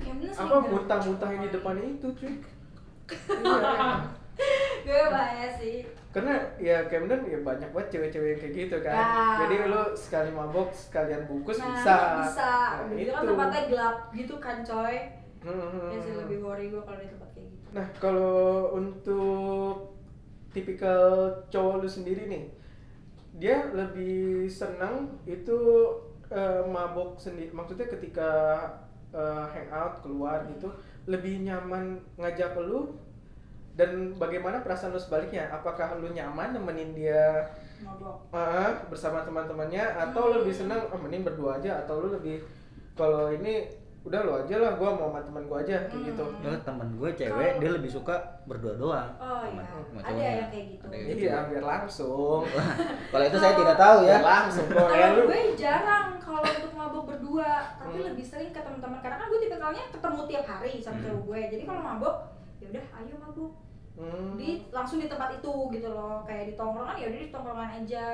[SPEAKER 3] Camden sering
[SPEAKER 1] apa
[SPEAKER 3] gerak.
[SPEAKER 1] muntah-muntahin di depan itu cuy Iya.
[SPEAKER 3] gue bahaya sih
[SPEAKER 1] karena ya Camden ya banyak banget cewek-cewek yang kayak gitu kan
[SPEAKER 3] Ya.
[SPEAKER 1] jadi lo sekali mabok sekalian bungkus
[SPEAKER 3] nah,
[SPEAKER 1] bisa
[SPEAKER 3] bisa
[SPEAKER 1] Nah,
[SPEAKER 3] Udah gitu kan
[SPEAKER 1] itu.
[SPEAKER 3] tempatnya gelap gitu kan coy
[SPEAKER 1] Hmm.
[SPEAKER 3] ya sih lebih worry gue kalau di tempat kayak gitu
[SPEAKER 1] nah kalau untuk tipikal cowok lu sendiri nih dia lebih senang itu eh, mabok sendiri maksudnya ketika eh, hangout keluar gitu lebih nyaman ngajak lu dan bagaimana perasaan lu sebaliknya apakah lu nyaman nemenin dia
[SPEAKER 3] mabok
[SPEAKER 1] Ah, bersama teman-temannya atau
[SPEAKER 3] Hmm.
[SPEAKER 1] lebih senang ah, mending berdua aja atau lu lebih kalau ini udah lu aja lah gua mau sama teman gua aja kayak
[SPEAKER 3] Hmm.
[SPEAKER 1] gitu
[SPEAKER 2] ya temen gue cewek dia lebih suka berdua doang
[SPEAKER 3] Oh
[SPEAKER 2] Sama
[SPEAKER 3] iya, ada
[SPEAKER 2] cowoknya.
[SPEAKER 3] yang kayak gitu.
[SPEAKER 2] Ada yang
[SPEAKER 1] jadi ya biar langsung
[SPEAKER 2] kalau itu saya tidak tahu ya
[SPEAKER 1] biar
[SPEAKER 3] Iya,
[SPEAKER 1] langsung kok ya
[SPEAKER 3] Kalau
[SPEAKER 1] lu
[SPEAKER 3] gue jarang kalau untuk mabuk berdua, tapi
[SPEAKER 1] Hmm.
[SPEAKER 3] lebih sering ke teman-teman karena kan gue tipikalnya ketemu tiap hari sama
[SPEAKER 2] Hmm.
[SPEAKER 3] cowok gue. Jadi kalau mabuk, ya udah ayo mabuk.
[SPEAKER 1] Hmm.
[SPEAKER 3] Di langsung di tempat itu gitu loh, kayak di tongkrongan ya udah di tongkrongan aja.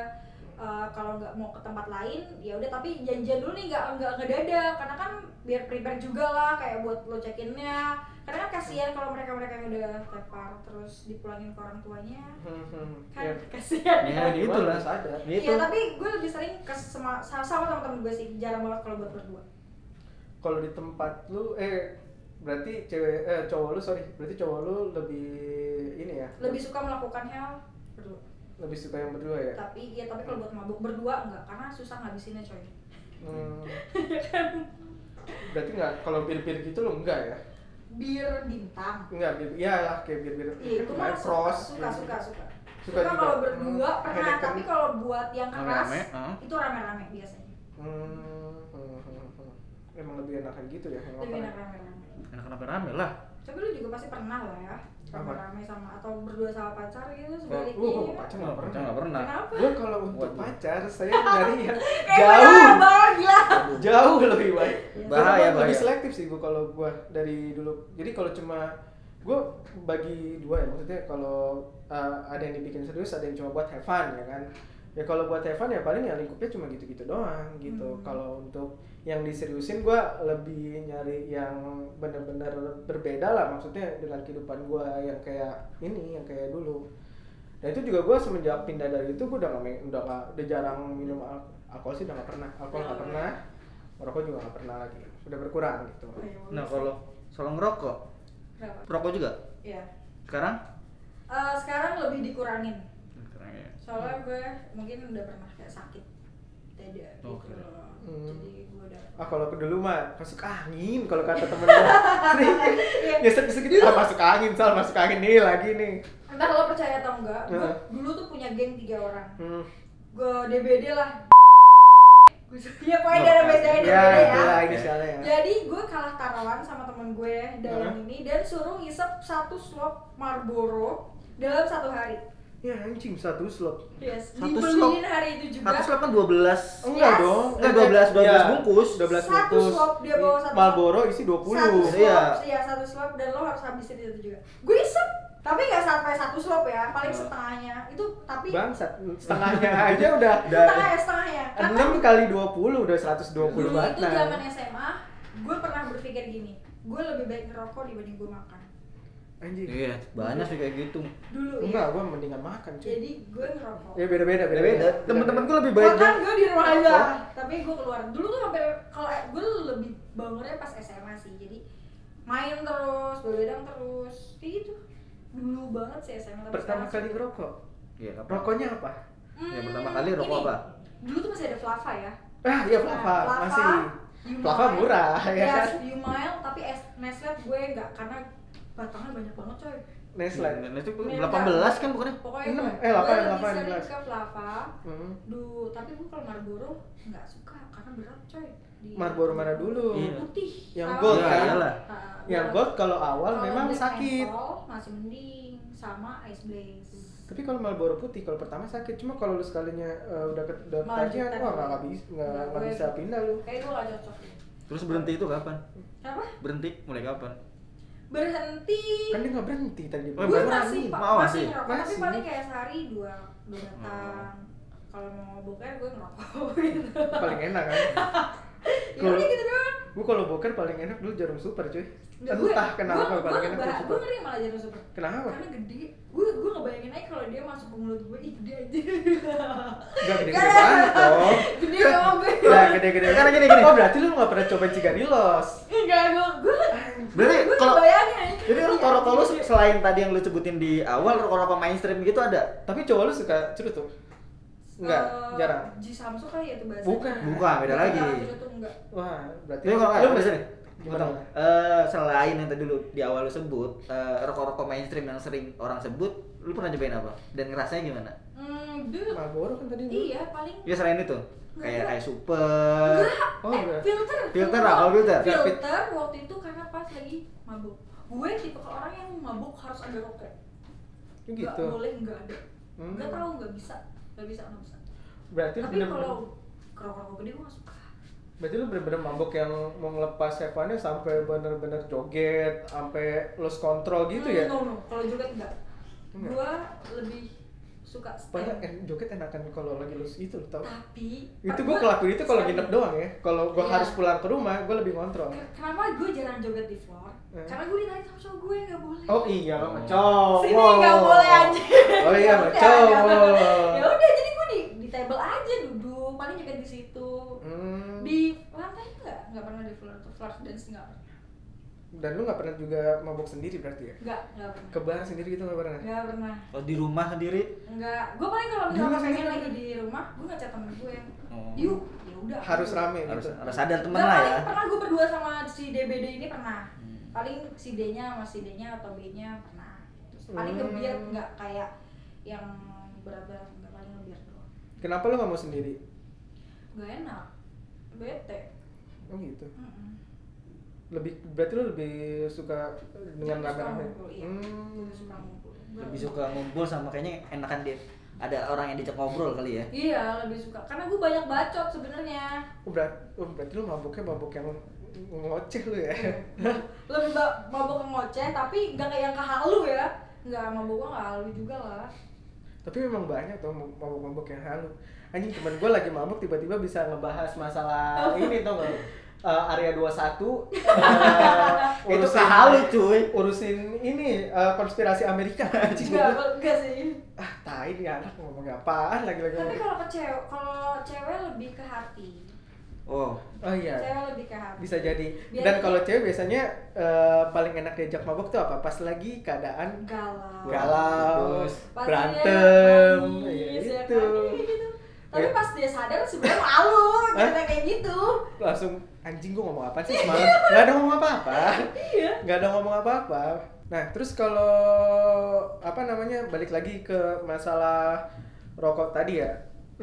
[SPEAKER 3] Eh, kalau nggak mau ke tempat lain ya udah tapi janjian dulu nih nggak nggak ngedadak karena kan biar prepare juga lah kayak buat lo check innya karena kan kasihan kalau mereka mereka yang udah tepar terus dipulangin ke orang tuanya
[SPEAKER 1] Hmm, hmm. Ya.
[SPEAKER 3] kan kasihan
[SPEAKER 2] ya
[SPEAKER 1] Mau gimana,
[SPEAKER 2] gitu lah
[SPEAKER 1] harus ada.
[SPEAKER 2] gitu
[SPEAKER 3] Iya, tapi gue lebih sering ke sama, sama teman-teman gue sih, jarang banget kalau buat berdua.
[SPEAKER 1] kalau di tempat lu eh berarti cewek eh cowok lu sorry berarti cowok lu lebih ini ya
[SPEAKER 3] Lebih suka melakukan hal berdua.
[SPEAKER 1] lebih suka yang berdua ya
[SPEAKER 3] Tapi iya, tapi kalau buat mabuk berdua enggak, karena susah ngabisinnya coy.
[SPEAKER 1] Hmm. berarti nggak kalau bir-bir gitu lu enggak ya
[SPEAKER 3] Bir bintang.
[SPEAKER 1] Enggak, bir ya lah kayak bir bir.
[SPEAKER 3] Iya, itu mah suka,
[SPEAKER 1] cross. iya. gitu.
[SPEAKER 3] suka, suka, suka.
[SPEAKER 1] Suka
[SPEAKER 3] Suka,
[SPEAKER 1] juga.
[SPEAKER 3] kalau berdua
[SPEAKER 1] Hmm,
[SPEAKER 3] pernah,
[SPEAKER 1] Heineken.
[SPEAKER 3] tapi kalau buat yang keras
[SPEAKER 2] Rame-rame, heeh.
[SPEAKER 3] itu rame-rame biasanya.
[SPEAKER 1] Hmm, hmm, hmm, hmm. Emang lebih enakan gitu ya yang
[SPEAKER 3] Lebih enak
[SPEAKER 1] apa?
[SPEAKER 3] rame-rame.
[SPEAKER 2] enak kenapa rame lah
[SPEAKER 3] Tapi lu juga pasti pernah lah ya,
[SPEAKER 1] Apa?
[SPEAKER 3] rame-rame sama atau berdua sama pacar gitu
[SPEAKER 1] Oh,
[SPEAKER 3] sebaliknya.
[SPEAKER 1] uh,
[SPEAKER 3] ya.
[SPEAKER 1] pacar
[SPEAKER 2] Cuma
[SPEAKER 1] nggak pernah.
[SPEAKER 2] nggak pernah
[SPEAKER 3] Kenapa?
[SPEAKER 1] Gue kalau untuk
[SPEAKER 2] Waduh.
[SPEAKER 1] pacar saya nyari yang
[SPEAKER 3] Kayak
[SPEAKER 1] jauh,
[SPEAKER 3] benar, banget, gila.
[SPEAKER 1] jauh lebih baik.
[SPEAKER 2] Bahaya,
[SPEAKER 1] Karena gua Lebih
[SPEAKER 2] bahaya.
[SPEAKER 1] selektif sih gue kalau gue dari dulu. Jadi kalau cuma gue eh, bagi dua ya maksudnya kalau uh, ada yang dibikin serius ada yang cuma buat have fun ya kan ya kalau buat Evan ya paling ya lingkupnya cuma gitu-gitu doang gitu
[SPEAKER 3] Hmm.
[SPEAKER 1] kalau untuk yang diseriusin gua lebih nyari yang bener-bener berbeda lah maksudnya dengan kehidupan gua yang kayak ini yang kayak dulu dan itu juga gua semenjak pindah dari itu gua udah gak, main- udah nggak- udah jarang minum al- alkohol sih udah gak pernah alkohol gak
[SPEAKER 3] Udah nggak
[SPEAKER 1] pernah merokok juga gak pernah lagi udah berkurang gitu
[SPEAKER 3] Oh, iya, bagus.
[SPEAKER 2] Nah kalau soal ngerokok,
[SPEAKER 3] Kenapa?
[SPEAKER 2] rokok juga
[SPEAKER 3] Iya.
[SPEAKER 2] sekarang?
[SPEAKER 3] Eh, sekarang lebih dikurangin.
[SPEAKER 2] Sekarang ya.
[SPEAKER 3] Soalnya gue mungkin udah pernah kayak sakit dada gitu
[SPEAKER 2] Oke.
[SPEAKER 3] loh.
[SPEAKER 1] Hmm.
[SPEAKER 3] Jadi gue udah
[SPEAKER 1] ah kalau dulu mah masuk angin kalau kata temen gua
[SPEAKER 3] Iya.
[SPEAKER 1] nyesek nyesek gitu ah masuk angin sal masuk angin nih lagi nih
[SPEAKER 3] Entah lo percaya atau enggak, gue
[SPEAKER 1] Heeh.
[SPEAKER 3] dulu tuh punya geng tiga orang.
[SPEAKER 1] hmm.
[SPEAKER 3] Gue DBD lah. Gue ya pokoknya ada
[SPEAKER 2] Oke. Iya,
[SPEAKER 3] bedanya DBD
[SPEAKER 1] ya
[SPEAKER 3] ya.
[SPEAKER 1] itulah inisialnya ya
[SPEAKER 3] Jadi gue kalah tarawan sama temen gue dalam
[SPEAKER 1] Heeh. ini
[SPEAKER 3] ini dan suruh ngisep satu slop Marlboro dalam satu hari.
[SPEAKER 1] ya anjing satu slot
[SPEAKER 3] Yes,
[SPEAKER 2] Satu
[SPEAKER 3] dibeliin
[SPEAKER 2] slop?
[SPEAKER 3] hari itu juga.
[SPEAKER 2] Satu slop kan 12
[SPEAKER 1] enggak
[SPEAKER 3] Yes.
[SPEAKER 1] dong
[SPEAKER 2] Enggak, 12, 12 bungkus.
[SPEAKER 1] 12
[SPEAKER 3] Satu
[SPEAKER 1] bungkus
[SPEAKER 3] slop, dia bawa satu
[SPEAKER 1] Marlboro isi
[SPEAKER 3] Satu
[SPEAKER 1] 20
[SPEAKER 3] slop,
[SPEAKER 2] Iya.
[SPEAKER 3] iya. satu slop dan lo harus habisin itu juga. Gue isep, tapi nggak sampai satu slop ya, paling
[SPEAKER 2] Iya.
[SPEAKER 3] setengahnya. Itu tapi
[SPEAKER 1] bangsat setengahnya aja udah
[SPEAKER 3] setengah ya setengahnya. Karena
[SPEAKER 1] 6 kali 20 udah 120
[SPEAKER 3] dulu
[SPEAKER 1] banget
[SPEAKER 3] itu zaman SMA, gue pernah berpikir gini, gue lebih baik ngerokok dibanding gue makan.
[SPEAKER 1] anjing
[SPEAKER 2] Iya, banyak sih kayak gitu.
[SPEAKER 3] Dulu
[SPEAKER 1] enggak
[SPEAKER 3] ya.
[SPEAKER 1] gua mendingan makan cuy
[SPEAKER 3] Jadi gue ngerokok.
[SPEAKER 1] ya beda-beda
[SPEAKER 2] Beda-beda. Temen-temen gue lebih baik.
[SPEAKER 3] Bahkan gue di rumah aja,
[SPEAKER 1] Wah.
[SPEAKER 3] tapi gue keluar. Dulu tuh sampai kalau eh, gue lebih bangunnya pas SMA sih, jadi main terus, begadang terus, kayak gitu. Dulu banget sih SMA. tapi
[SPEAKER 1] pertama
[SPEAKER 3] sekarang
[SPEAKER 1] kali
[SPEAKER 3] sih-
[SPEAKER 1] ngerokok
[SPEAKER 2] Iya, apa?
[SPEAKER 1] rokoknya apa
[SPEAKER 3] Hmm,
[SPEAKER 2] Ya, pertama kali rokok
[SPEAKER 3] ini.
[SPEAKER 2] apa?
[SPEAKER 3] Dulu tuh masih ada Flava ya. Nah,
[SPEAKER 1] Ah iya Flava,
[SPEAKER 3] Flava,
[SPEAKER 1] masih.
[SPEAKER 3] Yumile.
[SPEAKER 1] Flava murah ya
[SPEAKER 3] Ya,
[SPEAKER 1] kan.
[SPEAKER 3] Yumile, tapi es Nestle gue enggak karena batangnya banyak banget coy.
[SPEAKER 1] Nestle.
[SPEAKER 2] Nah, itu
[SPEAKER 3] Ini
[SPEAKER 2] 18 kan bukannya?
[SPEAKER 3] Pokoknya
[SPEAKER 1] Enam,
[SPEAKER 3] gue,
[SPEAKER 1] eh, lapan,
[SPEAKER 3] gue
[SPEAKER 1] lapan,
[SPEAKER 3] lebih
[SPEAKER 1] belas.
[SPEAKER 3] sering ke Flava.
[SPEAKER 1] Hmm.
[SPEAKER 3] Du, tapi gue kalau Marlboro nggak suka karena berat coy. Di-
[SPEAKER 1] Marlboro mana dulu?
[SPEAKER 2] Iya. Ya,
[SPEAKER 3] Putih.
[SPEAKER 1] Yang
[SPEAKER 3] sama
[SPEAKER 1] gold,
[SPEAKER 3] merah.
[SPEAKER 1] kan?
[SPEAKER 2] Iyalah.
[SPEAKER 3] Nah,
[SPEAKER 1] Yang
[SPEAKER 3] gua-
[SPEAKER 1] gold kalau awal
[SPEAKER 3] kalau
[SPEAKER 1] memang
[SPEAKER 3] Black
[SPEAKER 1] sakit.
[SPEAKER 3] Menthol masih mending sama Ice Blaze.
[SPEAKER 1] Tapi kalau Marlboro putih kalau pertama sakit, cuma kalau lu sekalinya eh, udah ke udah
[SPEAKER 3] Malah
[SPEAKER 1] ketagihan,
[SPEAKER 3] jutek.
[SPEAKER 1] wah nggak nggak bisa nggak
[SPEAKER 3] Nggak
[SPEAKER 1] nggak
[SPEAKER 3] boleh.
[SPEAKER 1] bisa pindah lu.
[SPEAKER 3] Kayak gue gak cocok deh.
[SPEAKER 2] Terus berhenti itu kapan?
[SPEAKER 3] Kenapa?
[SPEAKER 2] Berhenti mulai kapan?
[SPEAKER 3] Berhenti.
[SPEAKER 1] Kan dia nggak berhenti tadi.
[SPEAKER 2] Oh,
[SPEAKER 3] gue
[SPEAKER 2] baru
[SPEAKER 3] masih,
[SPEAKER 2] berani.
[SPEAKER 3] Pak,
[SPEAKER 2] Mau Hmm.
[SPEAKER 3] masih
[SPEAKER 2] masih?
[SPEAKER 3] ngerokok, tapi
[SPEAKER 1] Masih.
[SPEAKER 3] paling kayak sehari dua dua batang. Kalau mau boker gue ngerokok gitu.
[SPEAKER 1] paling enak kan.
[SPEAKER 3] Ya udah gitu doang.
[SPEAKER 1] Gue kalau boker paling enak dulu jarum super cuy.
[SPEAKER 3] Nggak, gue-
[SPEAKER 1] Entah kenapa
[SPEAKER 3] gue-
[SPEAKER 1] paling
[SPEAKER 3] gue
[SPEAKER 1] enak
[SPEAKER 3] nggak-
[SPEAKER 1] jarum
[SPEAKER 3] Gue
[SPEAKER 1] super.
[SPEAKER 3] ngeri malah jarum super.
[SPEAKER 1] Kenapa?
[SPEAKER 3] Karena gede. Gue gue ngebayangin aja kalau dia masuk ke mulut gue, ih gede aja.
[SPEAKER 1] Gak gede-gede banget dong.
[SPEAKER 3] gede dong gue.
[SPEAKER 1] Nah, gede-gede.
[SPEAKER 2] Gitu. Karena gini-gini.
[SPEAKER 1] Oh, berarti lu nggak pernah coba cigarillos.
[SPEAKER 3] Enggak gue gue.
[SPEAKER 2] Berarti
[SPEAKER 3] Gue
[SPEAKER 2] kalau
[SPEAKER 3] ngebayangin aja. gitu,
[SPEAKER 2] jadi rokok-rokok lu selain tadi yang lu sebutin di awal rokok-rokok mainstream gitu ada?
[SPEAKER 1] Tapi cowok lu suka cerutu? Enggak,
[SPEAKER 3] Eh,
[SPEAKER 1] jarang.
[SPEAKER 3] Ji Samsung kali ya itu bahasa.
[SPEAKER 1] Bukan.
[SPEAKER 2] Bukan, beda lagi.
[SPEAKER 3] tuh enggak.
[SPEAKER 1] Wah, berarti
[SPEAKER 2] Tapi kalau kayak apa sih?
[SPEAKER 1] Gimana?
[SPEAKER 2] Eh selain yang tadi lu di awal lu sebut eh, rokok-rokok mainstream yang sering orang sebut, lu pernah cobain apa? Dan ngerasanya gimana?
[SPEAKER 3] Hmm, dulu.
[SPEAKER 1] Marlboro kan tadi. dulu.
[SPEAKER 3] Iya, paling
[SPEAKER 2] Ya selain itu kayak
[SPEAKER 3] Enggak.
[SPEAKER 2] kayak super.
[SPEAKER 1] Oh,
[SPEAKER 3] eh,
[SPEAKER 1] enggak.
[SPEAKER 3] filter.
[SPEAKER 2] Filter lah, kalau filter.
[SPEAKER 3] Filter waktu itu karena pas lagi mabuk. Gue tipe ke orang yang mabuk harus ada rokok.
[SPEAKER 1] Kan
[SPEAKER 3] Nggak
[SPEAKER 1] gitu.
[SPEAKER 3] boleh nggak ada.
[SPEAKER 1] Hmm.
[SPEAKER 3] Nggak tahu nggak bisa. Nggak bisa nggak bisa.
[SPEAKER 1] Berarti lu
[SPEAKER 3] Tapi
[SPEAKER 1] bener
[SPEAKER 3] kalau kerokok gede gue nggak suka.
[SPEAKER 1] berarti lu bener-bener mabok yang mau ngelepas headphone-nya sampai bener-bener joget, sampai lost control gitu
[SPEAKER 3] Hmm,
[SPEAKER 1] ya.
[SPEAKER 3] No no, kalau joget enggak.
[SPEAKER 1] Enggak.
[SPEAKER 3] Gue lebih suka
[SPEAKER 1] Padahal
[SPEAKER 3] stand.
[SPEAKER 1] eh, joget enakan kalau lagi loose itu tau.
[SPEAKER 3] Tapi
[SPEAKER 1] Itu gua
[SPEAKER 3] gua
[SPEAKER 1] kelakuin itu kalau
[SPEAKER 3] sekali.
[SPEAKER 1] nginep doang ya. Kalau gua
[SPEAKER 3] Iya.
[SPEAKER 1] harus pulang ke rumah, gua lebih ngontrol.
[SPEAKER 3] Ke- Kenapa gue jarang joget di floor?
[SPEAKER 1] Eh.
[SPEAKER 3] Karena gue ditarik sama cowok gue nggak boleh.
[SPEAKER 1] Oh iya, sama
[SPEAKER 2] Oh.
[SPEAKER 1] cowok.
[SPEAKER 3] Sini nggak boleh aja.
[SPEAKER 1] Oh iya, sama
[SPEAKER 3] Ya
[SPEAKER 1] cowok.
[SPEAKER 3] udah jadi gue di di table aja duduk, paling joget di situ.
[SPEAKER 1] Hmm.
[SPEAKER 3] Di lantai nggak nggak pernah di floor tuh floor dance nggak pernah.
[SPEAKER 1] Dan lu nggak pernah juga mabok sendiri berarti ya?
[SPEAKER 3] Nggak nggak pernah.
[SPEAKER 1] Ke bar sendiri gitu nggak pernah?
[SPEAKER 3] Nggak pernah.
[SPEAKER 2] Kalau di rumah sendiri
[SPEAKER 3] Enggak, gue paling kalau
[SPEAKER 1] Gimana
[SPEAKER 3] misalnya pengen
[SPEAKER 1] sih?
[SPEAKER 3] lagi di rumah, gue ngechat temen gue yang,
[SPEAKER 2] Oh.
[SPEAKER 3] yuk, ya udah.
[SPEAKER 1] Harus rame
[SPEAKER 2] harus
[SPEAKER 1] gitu.
[SPEAKER 2] harus sadar temen
[SPEAKER 3] Nggak,
[SPEAKER 2] lah
[SPEAKER 3] paling
[SPEAKER 2] ya.
[SPEAKER 3] pernah gue berdua sama si DBD ini pernah.
[SPEAKER 2] Hmm.
[SPEAKER 3] Paling si D-nya sama si D-nya atau B-nya pernah. Terus paling
[SPEAKER 1] Hmm.
[SPEAKER 3] ngebiar nggak kayak yang berat-berat nggak paling ngebiar doang.
[SPEAKER 1] Kenapa lu nggak mau sendiri?
[SPEAKER 3] Nggak enak, bete.
[SPEAKER 1] Oh gitu.
[SPEAKER 3] Mm-mm.
[SPEAKER 1] Lebih berarti lu lebih suka dengan
[SPEAKER 3] Lebih suka
[SPEAKER 1] rame-rame.
[SPEAKER 3] ngumpul, iya. Lebih suka
[SPEAKER 1] Hmm.
[SPEAKER 3] ngumpul. Gua-
[SPEAKER 2] Lebih suka ngumpul sama kayaknya enakan dia ada orang yang diajak ngobrol kali ya.
[SPEAKER 3] Iya, lebih suka. Karena gue banyak bacot sebenarnya.
[SPEAKER 1] Oh, berat- oh, berarti lu mabuknya mabuk yang ngoceh lu ya.
[SPEAKER 3] Iya. lebih ba- mabok ke ngoceh tapi nggak kayak yang kehalu ya nggak mabok gua nggak halu juga lah
[SPEAKER 1] tapi memang banyak tuh mabuk-mabuk yang halu anjing teman gue lagi mabuk tiba-tiba bisa ngebahas masalah
[SPEAKER 3] Oh.
[SPEAKER 1] ini tuh nggak Eh, area 21 eh,
[SPEAKER 2] Itu
[SPEAKER 1] urusin-
[SPEAKER 2] kehalu, cuy.
[SPEAKER 1] urusin ini eh, konspirasi Amerika anjing
[SPEAKER 3] Enggak,
[SPEAKER 1] gua bilang,
[SPEAKER 3] enggak sih.
[SPEAKER 1] ah tai nih anak ngomong apaan lagi-lagi
[SPEAKER 3] Tapi
[SPEAKER 1] ngomong.
[SPEAKER 3] kalau ke cewek, kalau cewek lebih ke hati.
[SPEAKER 2] Oh,
[SPEAKER 1] oh iya
[SPEAKER 3] Cewek lebih ke hati.
[SPEAKER 1] bisa jadi
[SPEAKER 3] Biar
[SPEAKER 1] dan
[SPEAKER 3] dia-
[SPEAKER 1] kalau cewek biasanya eh, paling enak diajak mabok tuh apa pas lagi keadaan
[SPEAKER 3] galau.
[SPEAKER 1] galau
[SPEAKER 2] Putus.
[SPEAKER 3] Pas dia
[SPEAKER 1] berantem
[SPEAKER 3] nangis,
[SPEAKER 1] ya
[SPEAKER 3] ya kan?
[SPEAKER 1] gitu
[SPEAKER 3] Iya, gitu. Tapi
[SPEAKER 1] Ya.
[SPEAKER 3] pas dia sadar sebenarnya malu,
[SPEAKER 1] Hah?
[SPEAKER 3] kita kayak gitu.
[SPEAKER 1] langsung anjing gua ngomong apa sih semalam nggak ada ngomong apa-apa nggak ada ngomong apa-apa nah terus kalau apa namanya balik lagi ke masalah rokok tadi ya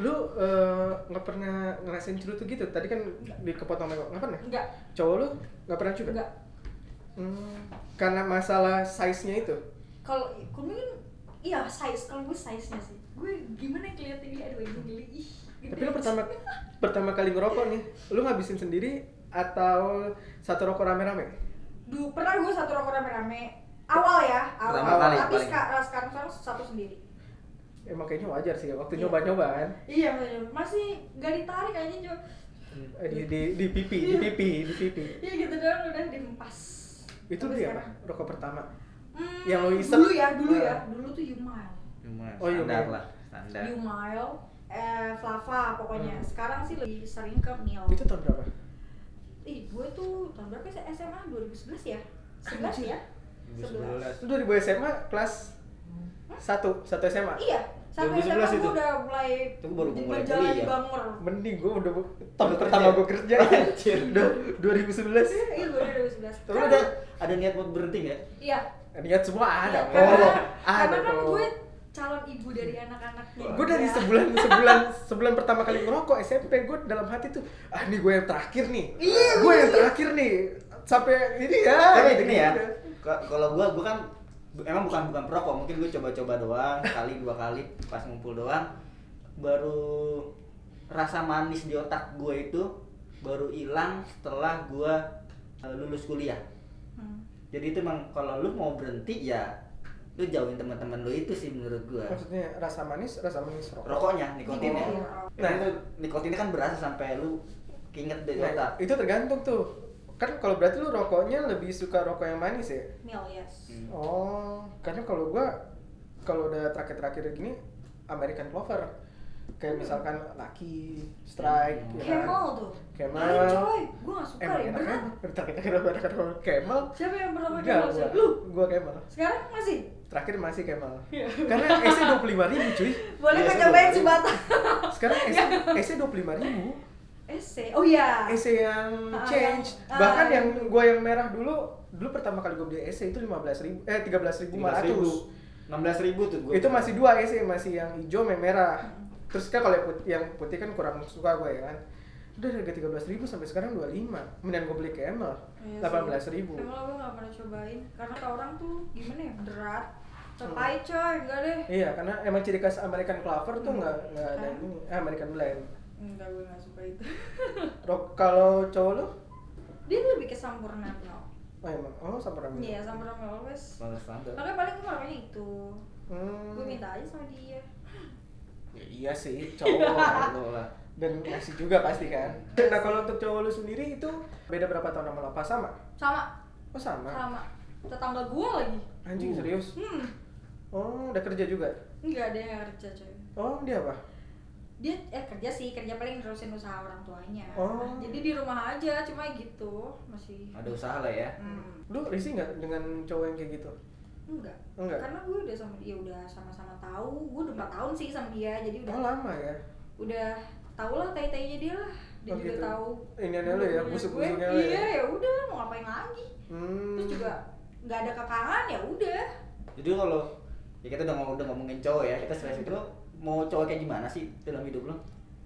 [SPEAKER 1] lu eh, nggak pernah ngerasain cerutu gitu tadi kan di kepotong rokok nggak pernah
[SPEAKER 3] Enggak,
[SPEAKER 1] cowok lu nggak pernah juga
[SPEAKER 3] enggak.
[SPEAKER 1] Hmm, karena masalah size nya itu
[SPEAKER 3] Kalau kuning kan iya size, kalau gue size-nya sih. Gue gimana kelihatan ini aduh ini geli. Ih, gitu.
[SPEAKER 1] tapi lu pertama pertama kali ngerokok nih lu ngabisin sendiri atau satu rokok rame-rame
[SPEAKER 3] Du, pernah gue satu rokok rame-rame. Awal ya, awal.
[SPEAKER 2] Pertama
[SPEAKER 1] kali,
[SPEAKER 3] Tapi
[SPEAKER 2] paling.
[SPEAKER 3] sekarang sekarang sekarang satu sendiri.
[SPEAKER 1] emang kayaknya wajar sih waktu
[SPEAKER 3] Iya.
[SPEAKER 1] nyoba-nyoba kan
[SPEAKER 3] Iya, masih gak ditarik aja cuma Hmm.
[SPEAKER 1] Eh, di, di, di pipi,
[SPEAKER 3] Iya.
[SPEAKER 1] di pipi, di pipi.
[SPEAKER 3] ya gitu doang udah dimpas.
[SPEAKER 1] Itu
[SPEAKER 3] Tapi
[SPEAKER 1] dia
[SPEAKER 3] sekarang-
[SPEAKER 1] apa? Rokok pertama.
[SPEAKER 3] Hmm,
[SPEAKER 1] Yang lo isep?
[SPEAKER 3] Dulu ya, dulu ya.
[SPEAKER 1] Nah.
[SPEAKER 3] Dulu tuh Yumail.
[SPEAKER 2] cuma
[SPEAKER 1] Oh, iya,
[SPEAKER 2] standar
[SPEAKER 1] iya.
[SPEAKER 2] lah, standar.
[SPEAKER 3] Yumail, eh, Flava pokoknya.
[SPEAKER 1] Hmm.
[SPEAKER 3] Sekarang sih lebih sering ke Mio.
[SPEAKER 1] Itu tahun berapa?
[SPEAKER 3] Ih, gue tuh tahun berapa sih SMA 2011 ya?
[SPEAKER 1] Ah,
[SPEAKER 3] 11 ya?
[SPEAKER 2] 2011.
[SPEAKER 1] Itu 2000 SMA kelas 1, 1 SMA.
[SPEAKER 3] Iya, sampai
[SPEAKER 2] 2011
[SPEAKER 3] SMA
[SPEAKER 2] itu?
[SPEAKER 3] gue udah mulai
[SPEAKER 2] Itu baru mulai ya?
[SPEAKER 3] berjalan
[SPEAKER 2] kuliah.
[SPEAKER 3] di Bangor.
[SPEAKER 1] Mending gue udah tahun pertama gue kerja anjir. Duh, 2011.
[SPEAKER 3] Iya, gue dari 2011.
[SPEAKER 2] Tapi ada ada niat buat berhenti nggak?
[SPEAKER 3] Iya.
[SPEAKER 1] Niat semua Oh, ada.
[SPEAKER 3] Iya, karena,
[SPEAKER 1] kok.
[SPEAKER 3] karena kan
[SPEAKER 1] kok.
[SPEAKER 3] gue calon ibu dari anak-anaknya.
[SPEAKER 1] gue dari
[SPEAKER 3] Ya.
[SPEAKER 1] sebulan sebulan sebulan pertama kali ngerokok SMP gue dalam hati tuh ah ini gue yang terakhir nih
[SPEAKER 3] Iya,
[SPEAKER 1] gue
[SPEAKER 3] iya,
[SPEAKER 1] yang
[SPEAKER 3] iya.
[SPEAKER 1] terakhir nih sampai ini ya
[SPEAKER 2] Tapi gini ya, ka- kalau gua gua kan bu- emang bukan bukan perokok, mungkin gua coba-coba doang, kali dua kali pas ngumpul doang baru rasa manis di otak gua itu baru hilang setelah gua eh, lulus kuliah.
[SPEAKER 3] Hmm.
[SPEAKER 2] Jadi itu emang kalau lu mau berhenti ya lu jauhin teman-teman lu itu sih menurut gua.
[SPEAKER 1] maksudnya rasa manis rasa manis rokok
[SPEAKER 2] Rokoknya, nikotinnya.
[SPEAKER 1] ya?
[SPEAKER 3] Nikotin.
[SPEAKER 2] Nah, itu nikotinnya kan berasa sampai lu keinget dari
[SPEAKER 1] Nah,
[SPEAKER 2] otak.
[SPEAKER 1] itu tergantung tuh. Kan kalau berarti lu rokoknya lebih suka rokok yang manis ya?
[SPEAKER 3] Mil, yes.
[SPEAKER 2] Hmm.
[SPEAKER 1] Oh, karena kalau gua kalau udah terakhir-terakhir gini American Clover. Kayak misalkan Lucky, Strike, ya
[SPEAKER 2] Hmm.
[SPEAKER 1] kan?
[SPEAKER 3] Camel tuh.
[SPEAKER 1] Camel.
[SPEAKER 3] Ayo coy, gue gak suka
[SPEAKER 1] Emang
[SPEAKER 3] deh.
[SPEAKER 1] enak
[SPEAKER 3] Berat.
[SPEAKER 1] kan? Terakhir-terakhir American Clover Camel.
[SPEAKER 3] Siapa yang pernah pakai
[SPEAKER 1] Enggak,
[SPEAKER 3] Camel?
[SPEAKER 1] gua.
[SPEAKER 3] Lu,
[SPEAKER 1] Gua Camel.
[SPEAKER 3] sekarang masih?
[SPEAKER 1] Terakhir masih Camel. Karena E SC 25 ribu cuy. E
[SPEAKER 3] Boleh
[SPEAKER 2] Iya,
[SPEAKER 3] gue
[SPEAKER 2] sih,
[SPEAKER 3] cobain
[SPEAKER 2] boleh.
[SPEAKER 3] sebatang.
[SPEAKER 1] Sekarang E SC,
[SPEAKER 3] Ya.
[SPEAKER 1] SC 25 ribu.
[SPEAKER 3] Ese, oh iya.
[SPEAKER 1] EC yang
[SPEAKER 3] Ah,
[SPEAKER 1] change
[SPEAKER 3] yang-
[SPEAKER 1] bahkan
[SPEAKER 3] ah.
[SPEAKER 1] yang gue yang merah dulu dulu pertama kali gue beli EC itu lima belas ribu eh tiga belas ribu
[SPEAKER 2] enam belas ribu tuh gua.
[SPEAKER 1] itu masih dua EC masih yang hijau sama yang merah terus kan kalau yang putih, yang putih kan kurang suka gue ya kan udah harga tiga belas ribu sampai sekarang dua lima mendingan gue beli Camel
[SPEAKER 3] Iya sih.
[SPEAKER 1] delapan belas ribu
[SPEAKER 3] Camel gue gak pernah cobain. Karena kata orang tuh gimana ya, berat.
[SPEAKER 1] Hmm.
[SPEAKER 3] Tepai coy, enggak deh.
[SPEAKER 1] iya karena emang ciri khas American Clover tuh
[SPEAKER 3] Hmm.
[SPEAKER 1] nggak nggak ada
[SPEAKER 3] Kan?
[SPEAKER 1] ini eh, American Blend
[SPEAKER 3] Enggak, gue gak suka itu.
[SPEAKER 1] Rok- kalau cowok lu
[SPEAKER 3] Dia lebih ke sampurna no.
[SPEAKER 1] oh emang oh sama ramen
[SPEAKER 3] Iya, sampurna no always.
[SPEAKER 2] standar standar.
[SPEAKER 3] Makanya paling gue makanya itu.
[SPEAKER 1] hmm.
[SPEAKER 3] Gue minta aja sama dia.
[SPEAKER 1] Ya, iya sih
[SPEAKER 2] Oh,
[SPEAKER 1] cowok
[SPEAKER 2] Lo lah.
[SPEAKER 1] dan ngasih juga pasti kan nah kalau untuk cowok lu sendiri itu beda berapa tahun sama lo apa sama
[SPEAKER 3] Sama,
[SPEAKER 1] oh sama
[SPEAKER 3] sama. Tetangga gue lagi.
[SPEAKER 1] anjing
[SPEAKER 2] Uh.
[SPEAKER 1] serius
[SPEAKER 3] Hmm,
[SPEAKER 1] oh udah kerja juga
[SPEAKER 3] enggak ada yang kerja coy.
[SPEAKER 1] oh dia apa
[SPEAKER 3] dia eh kerja sih kerja paling nerusin usaha orang tuanya
[SPEAKER 1] Oh.
[SPEAKER 3] jadi di rumah aja cuma gitu masih
[SPEAKER 2] Ada usaha lah ya.
[SPEAKER 3] Hmm,
[SPEAKER 1] lu risih nggak dengan cowok yang kayak gitu
[SPEAKER 3] enggak
[SPEAKER 1] Enggak?
[SPEAKER 3] karena gue udah sama dia udah sama-sama tahu gue udah empat tahun sih sama dia jadi udah
[SPEAKER 1] oh lama ya
[SPEAKER 3] udah tau lah tai tainya dia lah
[SPEAKER 1] Oh,
[SPEAKER 3] dia juga
[SPEAKER 1] gitu.
[SPEAKER 3] tahu
[SPEAKER 1] ini lu ya
[SPEAKER 3] Gue-
[SPEAKER 1] busuk busuknya lu
[SPEAKER 3] iya
[SPEAKER 1] ya
[SPEAKER 3] ya udah lah, mau ngapain lagi
[SPEAKER 1] hmm.
[SPEAKER 3] terus juga nggak ada kekangan ya udah
[SPEAKER 2] Jadi kalau ya kita udah ngomong udah ngomongin cowok ya, kita spesifik lo mau cowok kayak gimana sih dalam hidup lo?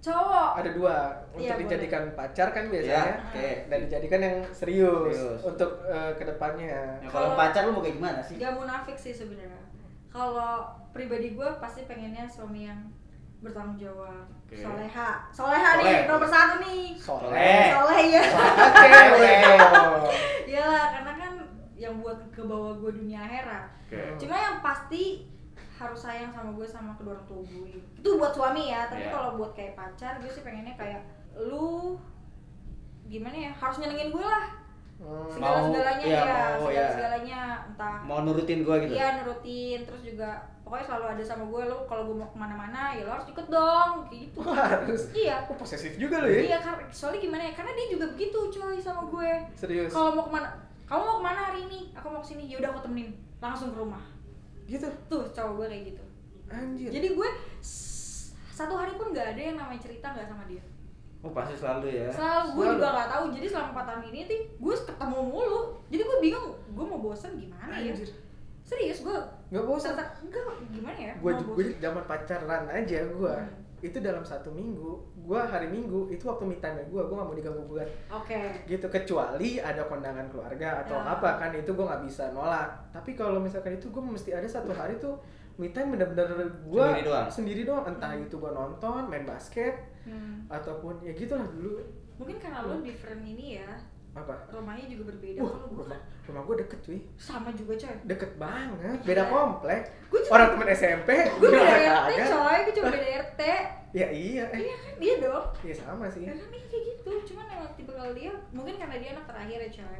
[SPEAKER 3] cowok
[SPEAKER 1] ada dua untuk
[SPEAKER 3] Iya, boleh.
[SPEAKER 1] dijadikan pacar kan biasanya
[SPEAKER 2] Ya, oke.
[SPEAKER 1] dan dijadikan yang serius,
[SPEAKER 2] Iya. Serius.
[SPEAKER 1] untuk eh, kedepannya
[SPEAKER 2] Ya, kalau
[SPEAKER 3] Kalau-
[SPEAKER 2] pacar lo mau kayak gimana sih?
[SPEAKER 3] nggak munafik sih sebenarnya kalau pribadi gue pasti pengennya suami yang bertanggung jawab
[SPEAKER 2] Oke.
[SPEAKER 3] soleha soleha
[SPEAKER 2] Soleh.
[SPEAKER 3] nih nomor satu nih
[SPEAKER 1] soleh
[SPEAKER 3] soleh ya Iya,
[SPEAKER 1] Oke,
[SPEAKER 3] iyalah karena kan yang buat ke bawah gue dunia akhirat
[SPEAKER 2] Oke.
[SPEAKER 3] cuma yang pasti harus sayang sama gue sama kedua orang tua gue itu buat suami ya
[SPEAKER 2] Iya.
[SPEAKER 3] tapi kalau buat kayak pacar gue sih pengennya kayak lu gimana ya harus nyenengin gue lah
[SPEAKER 1] Hmm.
[SPEAKER 3] segala segalanya
[SPEAKER 2] iya,
[SPEAKER 3] ya,
[SPEAKER 2] mau, iya.
[SPEAKER 3] segala segalanya entah
[SPEAKER 2] mau nurutin gue gitu
[SPEAKER 3] Iya nurutin terus juga pokoknya selalu ada sama gue lo kalau gue mau kemana-mana ya lo harus ikut dong kayak gitu
[SPEAKER 1] Harus.
[SPEAKER 3] iya
[SPEAKER 1] Oh, posesif juga lo ya.
[SPEAKER 3] iya kar- soalnya gimana ya karena dia juga begitu coy sama gue
[SPEAKER 1] Serius.
[SPEAKER 3] kalau mau kemana kamu mau kemana hari ini aku mau kesini ya udah aku temenin langsung ke rumah
[SPEAKER 1] Gitu.
[SPEAKER 3] tuh cowok gue kayak gitu
[SPEAKER 1] Anjir.
[SPEAKER 3] jadi gue s- satu hari pun nggak ada yang namanya cerita nggak sama dia
[SPEAKER 2] oh pasti selalu ya
[SPEAKER 3] selalu gue
[SPEAKER 1] Selalu.
[SPEAKER 3] juga nggak tahu jadi selama empat tahun ini tuh gue ketemu mulu jadi gue bingung gue mau bosen gimana ya
[SPEAKER 1] Anjir.
[SPEAKER 3] serius gue
[SPEAKER 1] Nggak bosan.
[SPEAKER 3] Serta- enggak gimana ya
[SPEAKER 1] gue gue
[SPEAKER 3] mau bosen.
[SPEAKER 1] zaman pacaran aja gue
[SPEAKER 3] Hmm.
[SPEAKER 1] itu dalam satu minggu gue hari minggu itu waktu me time gue gue gak mau diganggu gugat
[SPEAKER 3] oke
[SPEAKER 1] gitu kecuali ada kondangan keluarga atau
[SPEAKER 3] Ya.
[SPEAKER 1] apa kan itu gue nggak bisa nolak tapi kalau misalkan itu gue mesti ada satu hari tuh me time bener-bener gue
[SPEAKER 2] Sendiri doang?
[SPEAKER 1] sendiri doang entah
[SPEAKER 3] Hmm.
[SPEAKER 1] itu gue nonton main basket
[SPEAKER 3] Hmm.
[SPEAKER 1] ataupun ya gitulah dulu
[SPEAKER 3] mungkin karena lo different ini ya
[SPEAKER 1] apa
[SPEAKER 3] rumahnya juga berbeda
[SPEAKER 1] Wah,
[SPEAKER 3] kalau gue
[SPEAKER 1] rumah rumah gue deket cuy
[SPEAKER 3] sama juga coy
[SPEAKER 1] deket banget beda
[SPEAKER 3] Gila.
[SPEAKER 1] komplek
[SPEAKER 3] Gue Iya. juga-
[SPEAKER 1] orang temen SMP
[SPEAKER 3] gue
[SPEAKER 1] gimana
[SPEAKER 3] beda RT
[SPEAKER 1] kagak?
[SPEAKER 3] coy gue cuma beda RT
[SPEAKER 1] ya iya eh
[SPEAKER 3] iya kan dia dong
[SPEAKER 1] ya sama sih
[SPEAKER 3] karena dia kayak gitu cuman emang tipe kalau dia mungkin karena dia anak terakhir ya coy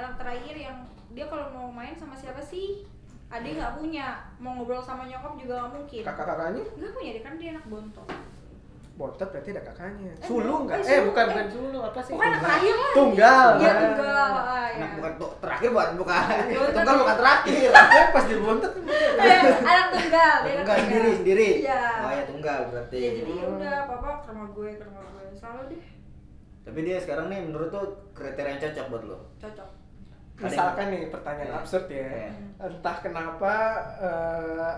[SPEAKER 3] anak terakhir yang dia kalau mau main sama siapa sih adik nggak punya mau ngobrol sama nyokap juga nggak mungkin
[SPEAKER 1] kakak-kakaknya
[SPEAKER 3] nggak punya dia kan dia anak bontot
[SPEAKER 1] Bontot berarti ada kakaknya.
[SPEAKER 3] Eh,
[SPEAKER 1] sulung
[SPEAKER 3] bukan.
[SPEAKER 1] nggak? Eh,
[SPEAKER 3] Eh, sulung.
[SPEAKER 1] bukan
[SPEAKER 3] Eh,
[SPEAKER 1] bukan sulung apa sih?
[SPEAKER 3] pokoknya anak terakhir lah
[SPEAKER 1] Oh, Tunggal.
[SPEAKER 3] dia
[SPEAKER 1] kan?
[SPEAKER 3] tunggal ah, ya. Iya,
[SPEAKER 2] anak bukan tuh- terakhir bukan bukan
[SPEAKER 3] Bukan.
[SPEAKER 2] tunggal bukan terakhir
[SPEAKER 3] Iya,
[SPEAKER 1] Kan pas di bontot
[SPEAKER 3] Eh, anak tunggal dia anak
[SPEAKER 2] tunggal sendiri sendiri
[SPEAKER 3] iya
[SPEAKER 2] oh ya tunggal berarti
[SPEAKER 1] Iya,
[SPEAKER 3] ya jadi udah papa ke rumah gue ke rumah gue selalu deh
[SPEAKER 2] tapi dia sekarang nih menurut tuh kriteria yang cocok buat lo
[SPEAKER 3] cocok
[SPEAKER 1] Misalkan nih pertanyaan
[SPEAKER 2] Iya.
[SPEAKER 1] absurd ya.
[SPEAKER 2] Iya.
[SPEAKER 1] Entah kenapa eh,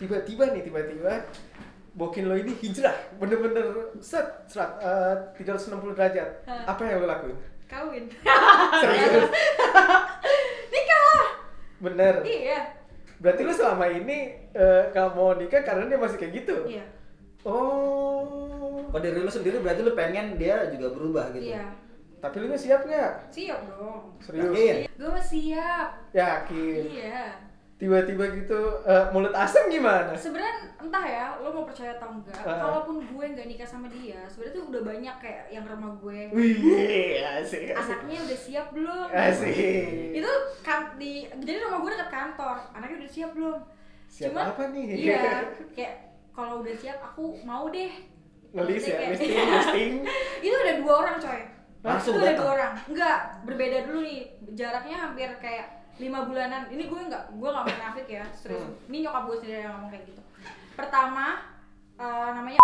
[SPEAKER 1] tiba-tiba nih tiba-tiba Bokin lo ini hijrah, bener-bener set, serat, eh, 360 derajat.
[SPEAKER 3] Hah.
[SPEAKER 1] Apa yang lo lakuin?
[SPEAKER 3] kawin
[SPEAKER 1] Serius,
[SPEAKER 3] nikah
[SPEAKER 1] bener.
[SPEAKER 3] iya
[SPEAKER 1] Berarti lo selama ini eh, nggak mau nikah karena dia masih kayak gitu.
[SPEAKER 3] iya
[SPEAKER 1] Oh,
[SPEAKER 2] kalau dari lu sendiri berarti lu pengen dia juga berubah gitu
[SPEAKER 3] iya
[SPEAKER 1] tapi lo siap nggak?
[SPEAKER 3] siap dong
[SPEAKER 1] Serius?
[SPEAKER 2] Yakin?
[SPEAKER 3] gue mah siap
[SPEAKER 1] Yakin.
[SPEAKER 3] iya
[SPEAKER 1] tiba-tiba gitu eh, mulut asam gimana?
[SPEAKER 3] sebenarnya entah ya lo mau percaya atau enggak
[SPEAKER 1] Ah.
[SPEAKER 3] kalaupun gue nggak nikah sama dia sebenarnya tuh udah banyak kayak yang rumah gue
[SPEAKER 1] Wih, asik asik.
[SPEAKER 3] anaknya udah siap belum
[SPEAKER 1] Asik.
[SPEAKER 3] itu kan di jadi rumah gue dekat kantor anaknya udah siap belum
[SPEAKER 1] Siap
[SPEAKER 3] Cuman,
[SPEAKER 1] apa nih?
[SPEAKER 3] iya kayak kalau udah siap aku mau deh
[SPEAKER 1] Ngelis
[SPEAKER 3] Maksudnya
[SPEAKER 1] ya,
[SPEAKER 3] kayak-
[SPEAKER 1] listing, listing.
[SPEAKER 3] itu ada dua orang coy
[SPEAKER 2] Langsung
[SPEAKER 3] itu ada
[SPEAKER 2] datang?
[SPEAKER 3] dua orang enggak berbeda dulu nih jaraknya hampir kayak lima bulanan ini gue nggak gue nggak munafik ya serius
[SPEAKER 1] Hmm.
[SPEAKER 3] ini nyokap gue sendiri yang ngomong kayak gitu pertama eh, namanya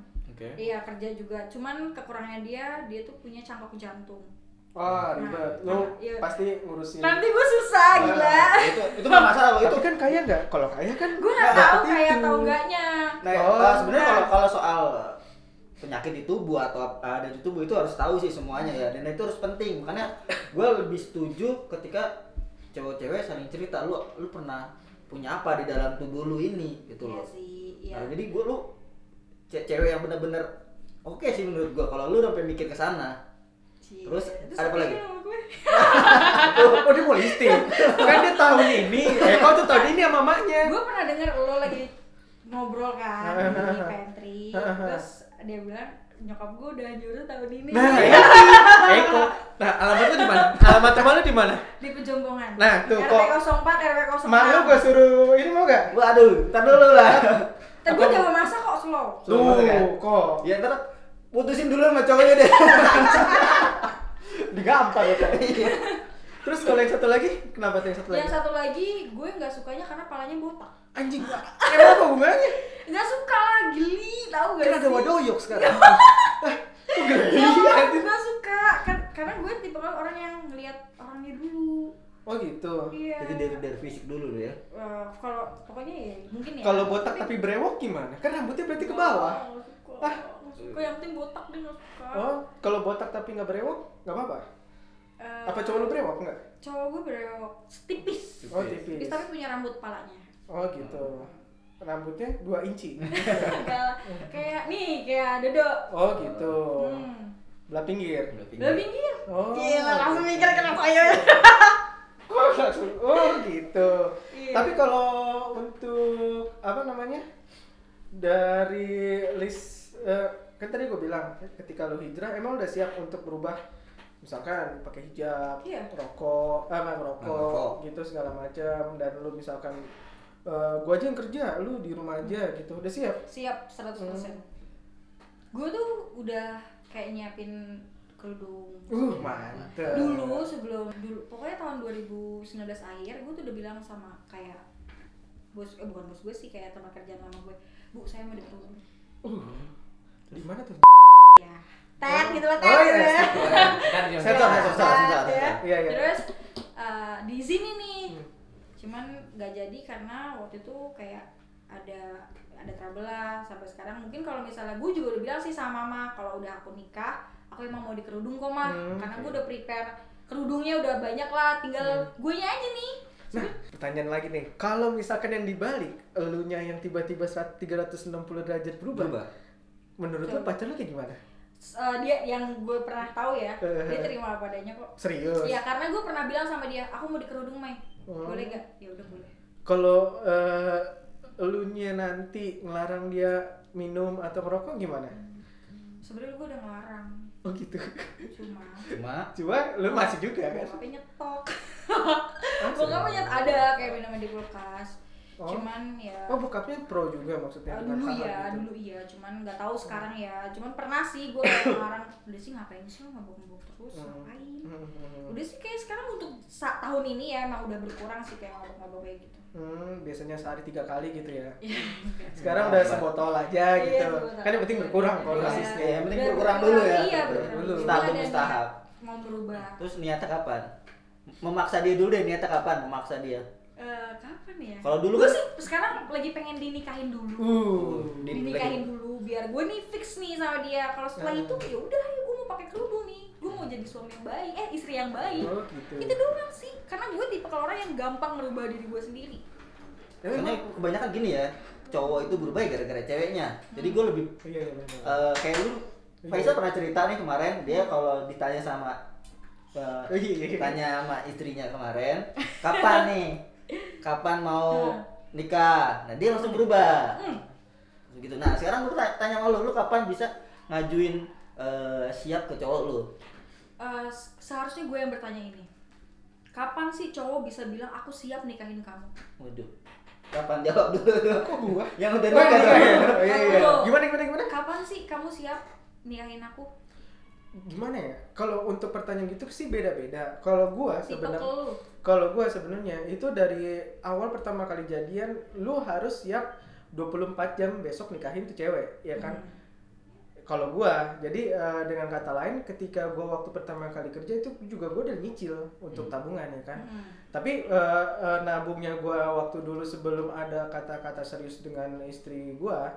[SPEAKER 2] oke
[SPEAKER 3] iya kerja juga cuman kekurangannya dia dia tuh punya cangkok jantung
[SPEAKER 1] Wah, ribet. Lu
[SPEAKER 3] Iya.
[SPEAKER 1] pasti
[SPEAKER 2] Hmm.
[SPEAKER 1] ngurusin.
[SPEAKER 3] nanti gue susah Ah, gila
[SPEAKER 2] Nah, itu itu bukan masalah lo
[SPEAKER 1] Tapi
[SPEAKER 2] itu
[SPEAKER 1] kan kaya nggak? Kalau kaya kan
[SPEAKER 3] gue nggak
[SPEAKER 1] nggak
[SPEAKER 3] tahu
[SPEAKER 1] seperti
[SPEAKER 3] kayak
[SPEAKER 1] itu.
[SPEAKER 3] atau enggaknya
[SPEAKER 2] Nah,
[SPEAKER 1] Oh,
[SPEAKER 2] eh, sebenarnya
[SPEAKER 3] nah.
[SPEAKER 2] kalau kalau soal eh, penyakit di tubuh atau apa ada di tubuh itu harus tahu sih semuanya ya dan itu harus penting makanya gue lebih setuju ketika cewek-cewek saling cerita lu lu pernah punya apa di dalam tubuh lu ini gitu
[SPEAKER 3] iya
[SPEAKER 2] loh
[SPEAKER 3] sih iya
[SPEAKER 2] Nah, jadi gue lu ce- cewek yang bener-bener oke sih menurut gue kalau lu udah mikir ke sana
[SPEAKER 3] Cie.
[SPEAKER 2] Terus, ada apa lagi?
[SPEAKER 3] dia sama gue.
[SPEAKER 1] Oh, oh, dia mau listing. kan dia tahun ini. Eh, kau tuh tahun ini sama mamanya.
[SPEAKER 3] gue pernah denger lo lagi ngobrol kan di pantry terus dia bilang nyokap gue udah nyuruh tahun ini
[SPEAKER 1] Nah, ya. Eko. Nah, alamat lu di mana? Alamat rumah lu di mana?
[SPEAKER 3] di pejompongan
[SPEAKER 1] Nah, tuh,
[SPEAKER 3] RW
[SPEAKER 1] kok-
[SPEAKER 3] 04 RW 06
[SPEAKER 1] Mak lu gua suruh ini mau gak?
[SPEAKER 2] gue aduh ntar dulu lah
[SPEAKER 3] tapi gue jago masak kok slow
[SPEAKER 1] Tuh,
[SPEAKER 2] Suruh, kan?
[SPEAKER 1] kok.
[SPEAKER 2] ya ntar putusin dulu sama cowoknya deh
[SPEAKER 1] digampar ya Kak.
[SPEAKER 2] Iya.
[SPEAKER 1] terus kalau yang satu lagi kenapa tuh yang satu lagi
[SPEAKER 3] yang satu lagi gue nggak sukanya karena palanya botak
[SPEAKER 1] anjing emang apa hubungannya
[SPEAKER 3] nggak suka lah geli tau gak
[SPEAKER 1] kan ada Iya.
[SPEAKER 3] sih?
[SPEAKER 1] wadoyok sekarang Ah,
[SPEAKER 3] Nggak, nggak suka kan karena gue tipe orang yang ngelihat orangnya dulu
[SPEAKER 1] oh gitu
[SPEAKER 3] iya
[SPEAKER 2] jadi dari dari fisik dulu lu ya
[SPEAKER 3] Eh, kalau pokoknya ya mungkin ya
[SPEAKER 1] kalau botak tapi brewok gimana kan rambutnya berarti ke bawah
[SPEAKER 3] Nggak suka,
[SPEAKER 1] Ah.
[SPEAKER 3] nggak suka yang penting botak deh nggak suka
[SPEAKER 1] oh kalau botak tapi nggak brewok nggak apa-apa
[SPEAKER 3] Eh,
[SPEAKER 1] apa cowok lu brewok nggak
[SPEAKER 3] cowok gue berewok tipis
[SPEAKER 1] oh
[SPEAKER 2] Tipis.
[SPEAKER 1] tipis
[SPEAKER 3] tipis tapi punya rambut palanya
[SPEAKER 1] oh gitu rambutnya dua inci
[SPEAKER 3] Agak kayak nih kayak dodo
[SPEAKER 1] oh gitu
[SPEAKER 3] hmm.
[SPEAKER 1] belah pinggir
[SPEAKER 3] Udah pinggir
[SPEAKER 1] oh
[SPEAKER 3] Gila, langsung mikir kenapa ya
[SPEAKER 1] Oh, langsung. Oh, gitu.
[SPEAKER 3] Iya.
[SPEAKER 1] Tapi kalau untuk apa namanya dari list eh, kan tadi gue bilang ketika lo hijrah emang udah siap untuk berubah misalkan pakai hijab
[SPEAKER 3] Iya.
[SPEAKER 1] rokok ah nggak merokok
[SPEAKER 2] Nggak merokok.
[SPEAKER 1] gitu segala macam dan lu misalkan eh, gua aja yang kerja lu di rumah aja gitu udah siap
[SPEAKER 3] siap 100%
[SPEAKER 1] Hmm.
[SPEAKER 3] gue tuh udah kayak nyiapin kerudung
[SPEAKER 1] uh mantep
[SPEAKER 3] dulu sebelum dulu pokoknya tahun 2019 akhir gue tuh udah bilang sama kayak bos eh bukan bos gue sih kayak teman kerjaan lama gue bu saya mau dikerudung
[SPEAKER 1] uh di mana tuh
[SPEAKER 3] ya tet gitu lah tet
[SPEAKER 1] Oh, iya.
[SPEAKER 3] ya.
[SPEAKER 4] Ntar dia-
[SPEAKER 1] Sensor,
[SPEAKER 3] Ya,
[SPEAKER 1] sensor,
[SPEAKER 3] tet,
[SPEAKER 2] sensor,
[SPEAKER 3] ya.
[SPEAKER 2] sensor.
[SPEAKER 1] Iya, iya.
[SPEAKER 3] terus eh, di sini nih
[SPEAKER 1] Hmm.
[SPEAKER 3] cuman nggak jadi karena waktu itu kayak ada ada trouble lah sampai sekarang mungkin kalau misalnya gue juga udah bilang sih sama mama kalau udah aku nikah aku emang mau dikerudung kok mah
[SPEAKER 1] Hmm.
[SPEAKER 3] karena gue udah prepare kerudungnya udah banyak lah tinggal
[SPEAKER 1] Hmm.
[SPEAKER 3] gue aja nih
[SPEAKER 1] Nah, pertanyaan lagi nih. Kalau misalkan yang dibalik, elunya yang tiba-tiba saat 360 derajat berubah,
[SPEAKER 2] Berubah.
[SPEAKER 1] menurut lu
[SPEAKER 3] Betul.
[SPEAKER 1] pacar lu kayak gimana?
[SPEAKER 3] S- eh, dia yang gue pernah tahu ya
[SPEAKER 1] Eh.
[SPEAKER 3] dia terima apa adanya kok
[SPEAKER 1] Serius?
[SPEAKER 3] Iya karena gue pernah bilang sama dia aku mau dikerudung Mai
[SPEAKER 1] Oh.
[SPEAKER 3] boleh gak ya udah boleh
[SPEAKER 1] Kalau eh, elunya nanti ngelarang dia minum atau merokok gimana?
[SPEAKER 3] sebenarnya gue udah ngelarang
[SPEAKER 1] Oh gitu.
[SPEAKER 3] cuma
[SPEAKER 2] Cuma
[SPEAKER 1] Cuma lu masih juga kan?
[SPEAKER 3] bokapnya nyetok bokapnya nyet ada kayak minuman di kulkas
[SPEAKER 1] Oh.
[SPEAKER 3] cuman ya
[SPEAKER 1] Oh bokapnya pro juga maksudnya?
[SPEAKER 3] eh,
[SPEAKER 1] bukan
[SPEAKER 3] dulu
[SPEAKER 1] salah
[SPEAKER 3] ya
[SPEAKER 1] gitu. Oh.
[SPEAKER 3] dulu iya cuman nggak tahu sekarang ya cuman pernah sih gue kayak ngelarang udah sih ngapain sih lo mabok-mabok terus
[SPEAKER 1] Hmm.
[SPEAKER 3] ngapain
[SPEAKER 1] Hmm, hmm, hmm.
[SPEAKER 3] udah sih kayak sekarang untuk sa- tahun ini ya emang udah berkurang sih kayak mabok-mabok kayak gitu
[SPEAKER 1] Hmm, biasanya sehari tiga kali gitu ya.
[SPEAKER 3] Iya.
[SPEAKER 1] Sekarang udah sebotol aja
[SPEAKER 3] Iya,
[SPEAKER 1] gitu.
[SPEAKER 3] sebotol.
[SPEAKER 1] Kan yang penting berkurang kalau
[SPEAKER 3] Iya.
[SPEAKER 1] rasisnya
[SPEAKER 2] ya, yang penting
[SPEAKER 3] Udah
[SPEAKER 2] berkurang dulu ya.
[SPEAKER 3] Iya,
[SPEAKER 2] Gitu.
[SPEAKER 3] berkurang
[SPEAKER 1] Dulu.
[SPEAKER 3] dulu.
[SPEAKER 2] Setahap
[SPEAKER 3] Ada niat
[SPEAKER 2] setahap.
[SPEAKER 3] Mau berubah.
[SPEAKER 2] Terus niatnya kapan? Memaksa dia dulu deh niatnya kapan memaksa dia.
[SPEAKER 3] Eh, kapan ya?
[SPEAKER 2] Kalau dulu
[SPEAKER 3] gue
[SPEAKER 2] kan-
[SPEAKER 3] sih sekarang lagi pengen dinikahin dulu.
[SPEAKER 1] Uh.
[SPEAKER 3] Iya.
[SPEAKER 2] Di-
[SPEAKER 3] dinikahin dulu biar gue nih fix nih sama dia. Kalau setelah
[SPEAKER 1] Hmm.
[SPEAKER 3] itu ya udah ya gue mau pakai kerudung nih. Gue mau jadi suami yang baik, eh istri yang baik.
[SPEAKER 1] Oh gitu.
[SPEAKER 3] Itu doang sih. Karena gue tipe kalau orang yang gampang merubah diri gue sendiri.
[SPEAKER 1] Emang-
[SPEAKER 2] Soalnya kebanyakan gini ya, cowok itu berubah ya gara-gara ceweknya. Jadi gue lebih
[SPEAKER 1] Iya iya benar.
[SPEAKER 2] eh, kayak lu Faisal pernah cerita nih kemarin dia kalau ditanya sama
[SPEAKER 1] Oh, iya, iya.
[SPEAKER 2] eh, tanya sama istrinya kemarin, kapan nih? Kapan mau nikah? Nah, dia langsung berubah.
[SPEAKER 3] Hmm.
[SPEAKER 2] gitu nah sekarang gue tanya sama lu lu kapan bisa ngajuin eh, siap ke cowok lu
[SPEAKER 3] Eh, se- seharusnya gue yang bertanya ini. Kapan sih cowok bisa bilang aku siap nikahin kamu?
[SPEAKER 2] waduh kapan jawab dulu
[SPEAKER 1] Kok gua?
[SPEAKER 2] yang udah
[SPEAKER 1] Oh, iya,
[SPEAKER 2] nikah
[SPEAKER 1] iya, iya.
[SPEAKER 2] dong.
[SPEAKER 1] Oh, iya, iya.
[SPEAKER 3] Aduh.
[SPEAKER 1] Gimana gimana gimana?
[SPEAKER 3] Kapan sih kamu siap nikahin aku?
[SPEAKER 1] Gimana ya? Kalau untuk pertanyaan gitu sih beda-beda. Kalau gua
[SPEAKER 3] Tipe ke
[SPEAKER 1] sebenarnya
[SPEAKER 3] lu.
[SPEAKER 1] kalau gua sebenarnya itu dari awal pertama kali jadian lu harus siap 24 jam besok nikahin tuh cewek, ya kan?
[SPEAKER 3] Hmm.
[SPEAKER 1] Kalau gua, jadi eh, dengan kata lain ketika gua waktu pertama kali kerja itu juga gua udah nyicil untuk tabungan ya kan.
[SPEAKER 3] Hmm.
[SPEAKER 1] Tapi eh, eh, nabungnya gua waktu dulu sebelum ada kata-kata serius dengan istri gua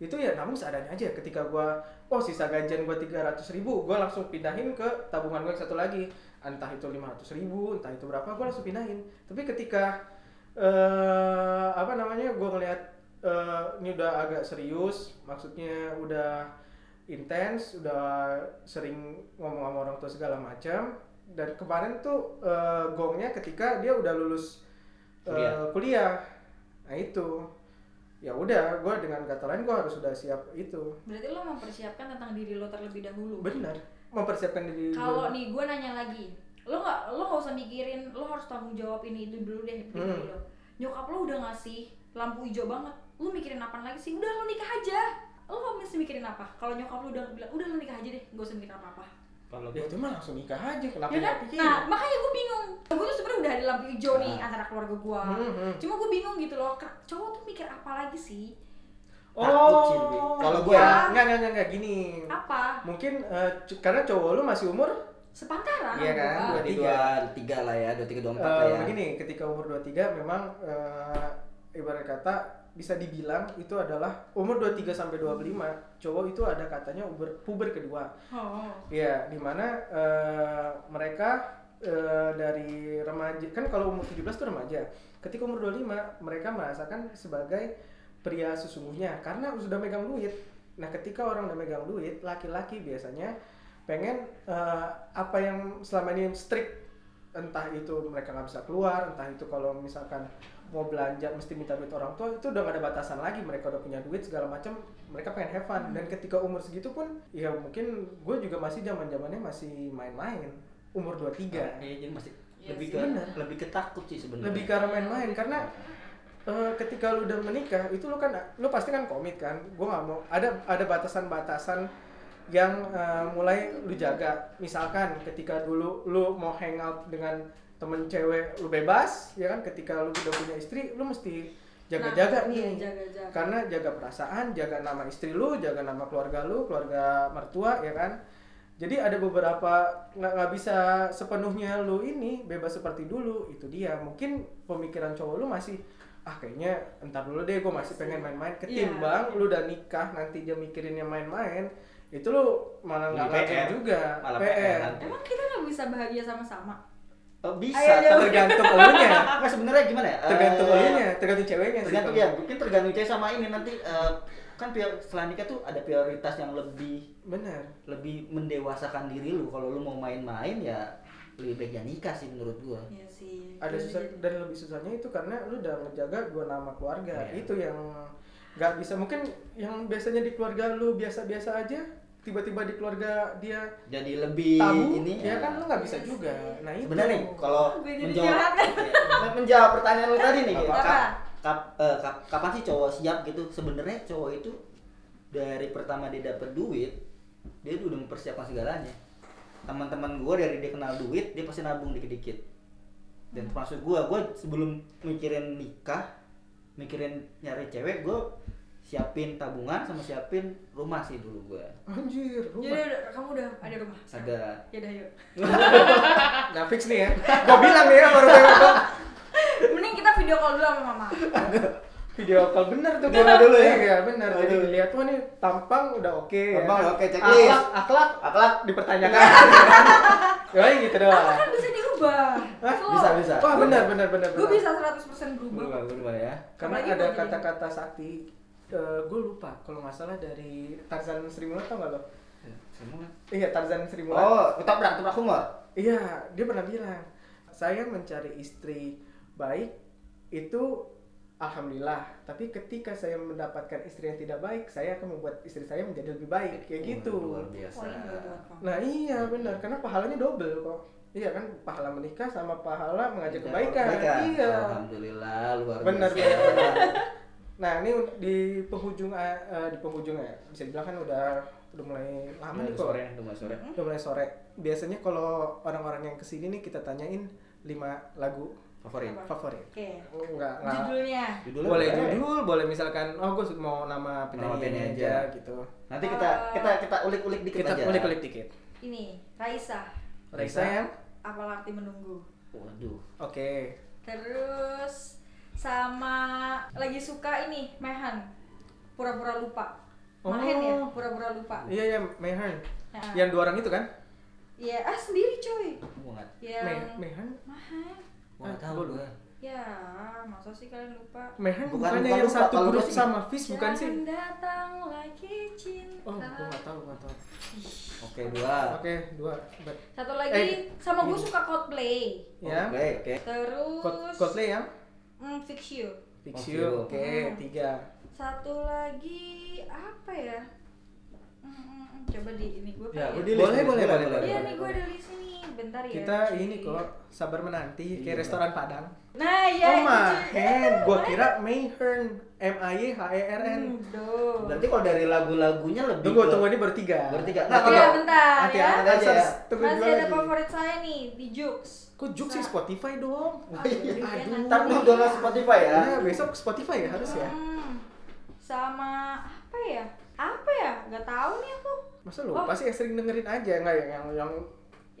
[SPEAKER 1] itu ya nabung seadanya aja ketika gua oh sisa gajian gua 300 ribu gua langsung pindahin ke tabungan gua yang satu lagi entah itu 500 ribu entah itu berapa gua langsung pindahin tapi ketika eh apa namanya gua ngelihat eh, ini udah agak serius maksudnya udah intens udah sering ngomong sama orang tua segala macam dan kemarin tuh eh, gongnya ketika dia udah lulus eh,
[SPEAKER 2] Kuliah.
[SPEAKER 1] kuliah nah itu ya udah gue dengan kata lain gue harus sudah siap itu
[SPEAKER 3] Berarti lo mempersiapkan tentang diri lo terlebih dahulu.
[SPEAKER 1] benar mempersiapkan diri dulu.
[SPEAKER 3] Kalau nih gue nanya lagi, lo nggak lo nggak usah mikirin lo harus tanggung jawab ini itu dulu deh. diri
[SPEAKER 1] Hmm.
[SPEAKER 3] lo. Nyokap lo udah ngasih lampu hijau banget. Lo mikirin apa lagi sih? Udah lo nikah aja. Lo nggak mesti mikirin apa. Kalau nyokap lo udah bilang udah lo nikah aja deh, gak usah mikirin apa apa.
[SPEAKER 2] kalau
[SPEAKER 1] ya
[SPEAKER 2] gua
[SPEAKER 1] itu mah langsung nikah aja kenapa
[SPEAKER 3] Ya kan?
[SPEAKER 1] nggak pikirin? Nah.
[SPEAKER 3] Nah makanya gue bingung. Gue tuh sebenarnya udah ada lampu hijau nih antara keluarga gue.
[SPEAKER 1] Hmm, hmm.
[SPEAKER 3] Cuma gue bingung gitu loh. ke- Cowok tuh mikir apa lagi sih?
[SPEAKER 2] Takut sih lebih.
[SPEAKER 1] oh
[SPEAKER 2] Kalau
[SPEAKER 1] gue
[SPEAKER 2] gua-
[SPEAKER 1] nggak nggak nggak nggak gini
[SPEAKER 3] Ya. Apa?
[SPEAKER 1] mungkin eh, c- karena cowok lu masih umur
[SPEAKER 3] Sepantaran. gitu."
[SPEAKER 1] Iya kan?
[SPEAKER 3] sama gua.
[SPEAKER 2] dua tiga tiga lah ya dua tiga dua empat lah
[SPEAKER 1] Eh,
[SPEAKER 2] ya
[SPEAKER 1] begini ketika umur 23 memang eh, ibarat kata bisa dibilang itu adalah umur 23 sampai 25 cowok itu ada katanya puber, puber kedua
[SPEAKER 3] Oh.
[SPEAKER 1] ya dimana eh, mereka eh, dari remaja kan kalau umur 17 itu remaja ketika umur 25 mereka merasakan sebagai pria sesungguhnya karena sudah megang duit nah ketika orang udah megang duit laki-laki biasanya pengen eh, apa yang selama ini strict entah itu mereka nggak bisa keluar entah itu kalau misalkan mau belanja mesti minta duit orang tua itu udah gak ada batasan lagi mereka udah punya duit segala macam mereka pengen have fun dan ketika umur segitu pun ya mungkin gue juga masih zaman zamannya masih main-main umur 23
[SPEAKER 2] Kayaknya jadi masih
[SPEAKER 3] Iya
[SPEAKER 2] lebih
[SPEAKER 3] sih,
[SPEAKER 2] ke
[SPEAKER 1] bener.
[SPEAKER 2] lebih ketakut sih sebenarnya.
[SPEAKER 1] lebih ke arah main-main karena eh, ketika lu udah menikah itu lu kan lu pasti kan komit kan gue nggak mau ada ada batasan-batasan yang eh, mulai lu jaga misalkan ketika dulu lu mau hangout dengan temen cewek lu bebas ya kan ketika lu udah punya istri lu mesti jaga-jaga
[SPEAKER 3] Nah,
[SPEAKER 1] nih
[SPEAKER 3] iya, jaga-jaga.
[SPEAKER 1] karena jaga perasaan jaga nama istri lu jaga nama keluarga lu keluarga mertua ya kan jadi ada beberapa nggak nggak bisa sepenuhnya lu ini bebas seperti dulu itu dia mungkin pemikiran cowok lu masih ah kayaknya entar dulu deh gue masih pengen main-main ketimbang lu udah nikah nanti dia mikirin yang main-main itu lu malah nggak
[SPEAKER 2] Jadi
[SPEAKER 1] ngatur
[SPEAKER 2] PR,
[SPEAKER 1] juga
[SPEAKER 2] malah PR.
[SPEAKER 1] PR
[SPEAKER 3] Emang kita nggak bisa bahagia sama-sama?
[SPEAKER 2] Oh, bisa.
[SPEAKER 3] Ayo, ayo.
[SPEAKER 2] tapi-
[SPEAKER 1] tergantung elunya
[SPEAKER 2] Nggak, sebenarnya gimana ya? Eh,
[SPEAKER 1] tergantung elunya tergantung ceweknya sih
[SPEAKER 2] tergantung
[SPEAKER 1] Bang.
[SPEAKER 2] ya mungkin tergantung cewek sama ini nanti eh, kan prior, setelah nikah tuh ada prioritas yang lebih
[SPEAKER 1] bener
[SPEAKER 2] lebih mendewasakan diri lu kalau lu mau main-main ya lebih baik jangan nikah sih menurut gua
[SPEAKER 3] Iya sih.
[SPEAKER 1] ada
[SPEAKER 3] Iya,
[SPEAKER 1] susah
[SPEAKER 3] iya.
[SPEAKER 1] dan lebih susahnya itu karena lu udah ngejaga dua nama keluarga
[SPEAKER 2] Iya.
[SPEAKER 1] itu yang nggak bisa mungkin yang biasanya di keluarga lu biasa-biasa aja tiba-tiba di keluarga dia
[SPEAKER 2] jadi lebih
[SPEAKER 1] tabu
[SPEAKER 2] ini eh,
[SPEAKER 1] ya kan lu nggak bisa
[SPEAKER 3] Iya
[SPEAKER 1] juga
[SPEAKER 3] sih.
[SPEAKER 1] nah itu
[SPEAKER 2] sebenarnya nih, kalau
[SPEAKER 3] Gitu. Gue jadi
[SPEAKER 2] menjawab
[SPEAKER 3] jahat.
[SPEAKER 2] Ya, menjawab pertanyaan lu tadi nih
[SPEAKER 1] Apa?
[SPEAKER 2] gitu.
[SPEAKER 3] Apa?
[SPEAKER 2] Kap- kap- eh, kap- kapan sih cowok siap gitu sebenarnya cowok itu dari pertama dia dapet duit dia udah mempersiapkan segalanya teman-teman gue dari dia kenal duit dia pasti nabung dikit-dikit dan
[SPEAKER 3] Hmm.
[SPEAKER 2] termasuk gue gue sebelum mikirin nikah mikirin nyari cewek gue siapin tabungan sama siapin rumah sih dulu gue
[SPEAKER 1] anjir
[SPEAKER 3] Jadi
[SPEAKER 1] rumah
[SPEAKER 3] udah- kamu udah ada rumah?
[SPEAKER 2] ada
[SPEAKER 3] Ya udah yuk.
[SPEAKER 1] nggak fix nih ya gua bilang nih ya baru baru
[SPEAKER 3] Mending kita video call dulu sama mama.
[SPEAKER 1] video call bener tuh
[SPEAKER 2] Bener
[SPEAKER 1] gua
[SPEAKER 2] dulu ya?
[SPEAKER 1] iya bener jadi
[SPEAKER 2] Aduh.
[SPEAKER 1] dilihat wah nih tampang udah oke ya.
[SPEAKER 2] Tampang udah oke, checklist.
[SPEAKER 1] akhlak akhlak
[SPEAKER 2] akhlak
[SPEAKER 1] dipertanyakan ya gitu doang
[SPEAKER 3] Kan bisa diubah.
[SPEAKER 1] Hah?
[SPEAKER 3] Slow.
[SPEAKER 2] Bisa, bisa.
[SPEAKER 1] wah bener bener bener
[SPEAKER 3] Gue
[SPEAKER 1] bener.
[SPEAKER 3] bisa 100% berubah.
[SPEAKER 2] berubah berubah ya
[SPEAKER 1] karena
[SPEAKER 3] Apalagi
[SPEAKER 1] ada
[SPEAKER 3] kalau jadi-
[SPEAKER 1] kata-kata sakti gue lupa kalau nggak salah dari Tarzan Sri Mulat tau nggak lo
[SPEAKER 2] Ya, semua
[SPEAKER 1] iya Tarzan Sri Mulat
[SPEAKER 2] oh ketabrak ketabrak humor
[SPEAKER 1] iya dia pernah bilang saya mencari istri baik itu alhamdulillah tapi ketika saya mendapatkan istri yang tidak baik saya akan membuat istri saya menjadi lebih
[SPEAKER 2] Iya,
[SPEAKER 1] baik kayak gitu
[SPEAKER 2] luar biasa
[SPEAKER 3] Poin gue buat kamu.
[SPEAKER 1] nah iya benar karena pahalanya double kok iya kan pahala menikah sama pahala mengajak kebaikan iya
[SPEAKER 2] Alhamdulillah luar
[SPEAKER 1] Benar,
[SPEAKER 2] biasa.
[SPEAKER 1] benar, Nah ini di penghujung eh, di penghujung ya bisa dibilang kan udah udah mulai lama nih
[SPEAKER 2] Udah
[SPEAKER 1] kok.
[SPEAKER 2] sore, udah mulai sore.
[SPEAKER 1] Udah mulai sore. Biasanya kalau orang-orang yang kesini nih kita tanyain lima lagu
[SPEAKER 2] Favorit.
[SPEAKER 3] Apa?
[SPEAKER 1] favorit.
[SPEAKER 3] Oke.
[SPEAKER 1] Oh, Enggak
[SPEAKER 2] Nah.
[SPEAKER 1] enggak.
[SPEAKER 3] Judulnya.
[SPEAKER 2] Judulnya
[SPEAKER 1] Boleh
[SPEAKER 2] apa ya?
[SPEAKER 1] judul, boleh misalkan oh gue mau nama
[SPEAKER 2] Nama
[SPEAKER 1] penyanyinya
[SPEAKER 2] penyanyi
[SPEAKER 1] aja,
[SPEAKER 2] aja.
[SPEAKER 1] gitu.
[SPEAKER 2] Nanti kita
[SPEAKER 3] Eh,
[SPEAKER 2] kita kita ulik-ulik dikit
[SPEAKER 1] Kita
[SPEAKER 2] aja.
[SPEAKER 1] kulik-kulik dikit.
[SPEAKER 3] Ini, Raisa.
[SPEAKER 1] Raisa
[SPEAKER 2] Raisa.
[SPEAKER 1] yang
[SPEAKER 3] Apalah arti menunggu.
[SPEAKER 2] Waduh.
[SPEAKER 1] Oke.
[SPEAKER 3] Terus sama lagi suka ini, Mehan. Pura-pura lupa.
[SPEAKER 1] Oh.
[SPEAKER 3] Mahen ya, pura-pura lupa.
[SPEAKER 1] Iya ya Mehan.
[SPEAKER 3] Ya.
[SPEAKER 1] Yang dua orang itu kan?
[SPEAKER 3] Iya, ah sendiri coy.
[SPEAKER 2] Gua enggak
[SPEAKER 1] Me-
[SPEAKER 3] Yang
[SPEAKER 1] Mehan.
[SPEAKER 3] Mahen.
[SPEAKER 2] gua enggak tahu
[SPEAKER 1] Eh, Gua
[SPEAKER 2] gua.
[SPEAKER 3] Ya, masa sih kalian lupa?
[SPEAKER 1] Mehan
[SPEAKER 2] Bukan-
[SPEAKER 1] bukannya
[SPEAKER 2] bukan
[SPEAKER 1] yang
[SPEAKER 2] lupa,
[SPEAKER 1] satu
[SPEAKER 2] kalau
[SPEAKER 1] grup
[SPEAKER 2] lupa sih.
[SPEAKER 1] sama Fish bukan sih?
[SPEAKER 3] Jangan datang lagi cinta.
[SPEAKER 1] Oh, gue nggak tahu, nggak tahu.
[SPEAKER 2] Oke, dua.
[SPEAKER 1] Oke, dua. Bet.
[SPEAKER 3] Satu
[SPEAKER 1] Eh,
[SPEAKER 3] lagi sama gue suka Coldplay.
[SPEAKER 1] Ya.
[SPEAKER 2] Oke, oke.
[SPEAKER 3] Terus
[SPEAKER 1] Kot- Coldplay yang
[SPEAKER 3] mm, Fix You.
[SPEAKER 1] Fix
[SPEAKER 2] Fix
[SPEAKER 1] You.
[SPEAKER 2] You.
[SPEAKER 1] Oke,
[SPEAKER 3] Hmm.
[SPEAKER 1] tiga.
[SPEAKER 3] Satu lagi apa ya? Mm, mm, mm, Coba di ini gue
[SPEAKER 2] Ya,
[SPEAKER 1] Boleh,
[SPEAKER 2] gua di list,
[SPEAKER 1] boleh,
[SPEAKER 2] list,
[SPEAKER 1] boleh,
[SPEAKER 2] boleh,
[SPEAKER 1] boleh,
[SPEAKER 2] boleh.
[SPEAKER 3] Iya
[SPEAKER 1] boleh.
[SPEAKER 3] nih gue ada list nih. Bentar ya.
[SPEAKER 1] Kita
[SPEAKER 3] cuy.
[SPEAKER 1] ini kok sabar menanti
[SPEAKER 2] Iya.
[SPEAKER 1] kayak restoran Padang.
[SPEAKER 3] Nah, ya
[SPEAKER 1] oh, Mahen. Gua kira Mayhern. M A Y H E R N.
[SPEAKER 3] Hmm. Mm,
[SPEAKER 2] Berarti kalau dari lagu-lagunya lebih
[SPEAKER 1] Tunggu,
[SPEAKER 2] ke-
[SPEAKER 1] tunggu ini bertiga.
[SPEAKER 2] Bertiga.
[SPEAKER 1] Nah,
[SPEAKER 2] Nah,
[SPEAKER 1] kalau
[SPEAKER 3] Iya, bentar
[SPEAKER 1] nanti
[SPEAKER 3] ya.
[SPEAKER 1] anak
[SPEAKER 2] Nanti
[SPEAKER 1] aja
[SPEAKER 2] aja
[SPEAKER 1] ya.
[SPEAKER 2] ya.
[SPEAKER 1] Tunggu
[SPEAKER 3] Masih
[SPEAKER 1] dua
[SPEAKER 3] ada
[SPEAKER 1] lagi.
[SPEAKER 3] favorit Nah. saya nih di Jux.
[SPEAKER 1] Kok Juk sih
[SPEAKER 3] Sa-
[SPEAKER 1] Spotify dong?
[SPEAKER 3] Ah, iya.
[SPEAKER 1] Oh, Aduh.
[SPEAKER 2] Ntar dulu gua nggak Spotify ya.
[SPEAKER 1] Ya, besok Spotify ya harus ya.
[SPEAKER 3] Hmm. Sama apa ya? Apa ya? Gak tahu nih aku.
[SPEAKER 1] Masa lupa sih yang sering dengerin aja enggak yang yang yang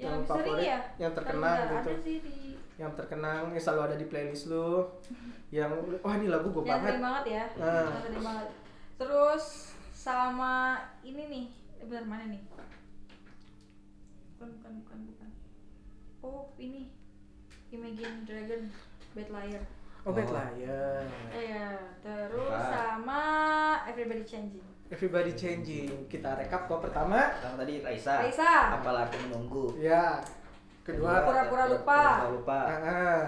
[SPEAKER 3] Oh. Yang, lebih sering ya?
[SPEAKER 1] yang terkenal
[SPEAKER 3] Tapi nggak
[SPEAKER 1] gitu.
[SPEAKER 3] Ada sih di
[SPEAKER 1] yang terkenang yang selalu ada di playlist lu yang wah ini lagu gue Oh,
[SPEAKER 3] yang
[SPEAKER 1] banget
[SPEAKER 3] sering banget ya.
[SPEAKER 1] Nah.
[SPEAKER 3] Yang sering banget. Terus sama ini nih. Eh, Bentar mana nih? Bukan bukan bukan bukan. Oh, ini. Imagine Dragon Bad Liar.
[SPEAKER 1] oh Bad
[SPEAKER 2] Oh.
[SPEAKER 1] Liar
[SPEAKER 3] Iya, terus
[SPEAKER 1] Nah.
[SPEAKER 2] Bukan.
[SPEAKER 3] sama Everybody Changing.
[SPEAKER 1] Everybody Changing kita rekap kok pertama
[SPEAKER 2] Yang tadi Raisa.
[SPEAKER 3] Raisa.
[SPEAKER 2] Apalah aku menunggu.
[SPEAKER 1] ya Kedua.
[SPEAKER 3] Pura-pura lupa.
[SPEAKER 2] Pura-pura lupa.
[SPEAKER 1] Ah, ah.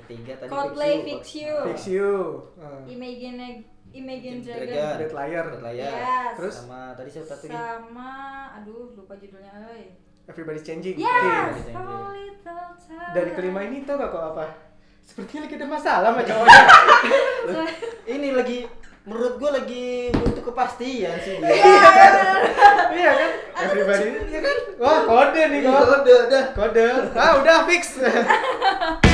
[SPEAKER 2] Ketiga tadi
[SPEAKER 3] Coldplay,
[SPEAKER 2] Fix
[SPEAKER 3] Fix You.
[SPEAKER 2] Ah.
[SPEAKER 1] Fix you. Ah.
[SPEAKER 3] Imagine Imagine
[SPEAKER 2] Dragon.
[SPEAKER 3] Dragon
[SPEAKER 1] Dead Liar.
[SPEAKER 2] Red Layar.
[SPEAKER 3] Yes.
[SPEAKER 1] Terus?
[SPEAKER 2] sama tadi siapa satu lagi?
[SPEAKER 3] sama aduh lupa judulnya oi.
[SPEAKER 1] Everybody's changing.
[SPEAKER 2] Oke.
[SPEAKER 3] Yes, a Iya, little time.
[SPEAKER 1] Dari kelima ini tau gak kok apa? Sepertinya lagi ada masalah sama cowoknya.
[SPEAKER 2] Ini lagi menurut gua lagi butuh kepastian sih dia.
[SPEAKER 1] iya kan? Everybody, iya kan? Wah kode nih kok.
[SPEAKER 2] udah udah.
[SPEAKER 1] Kode. Ah udah fix.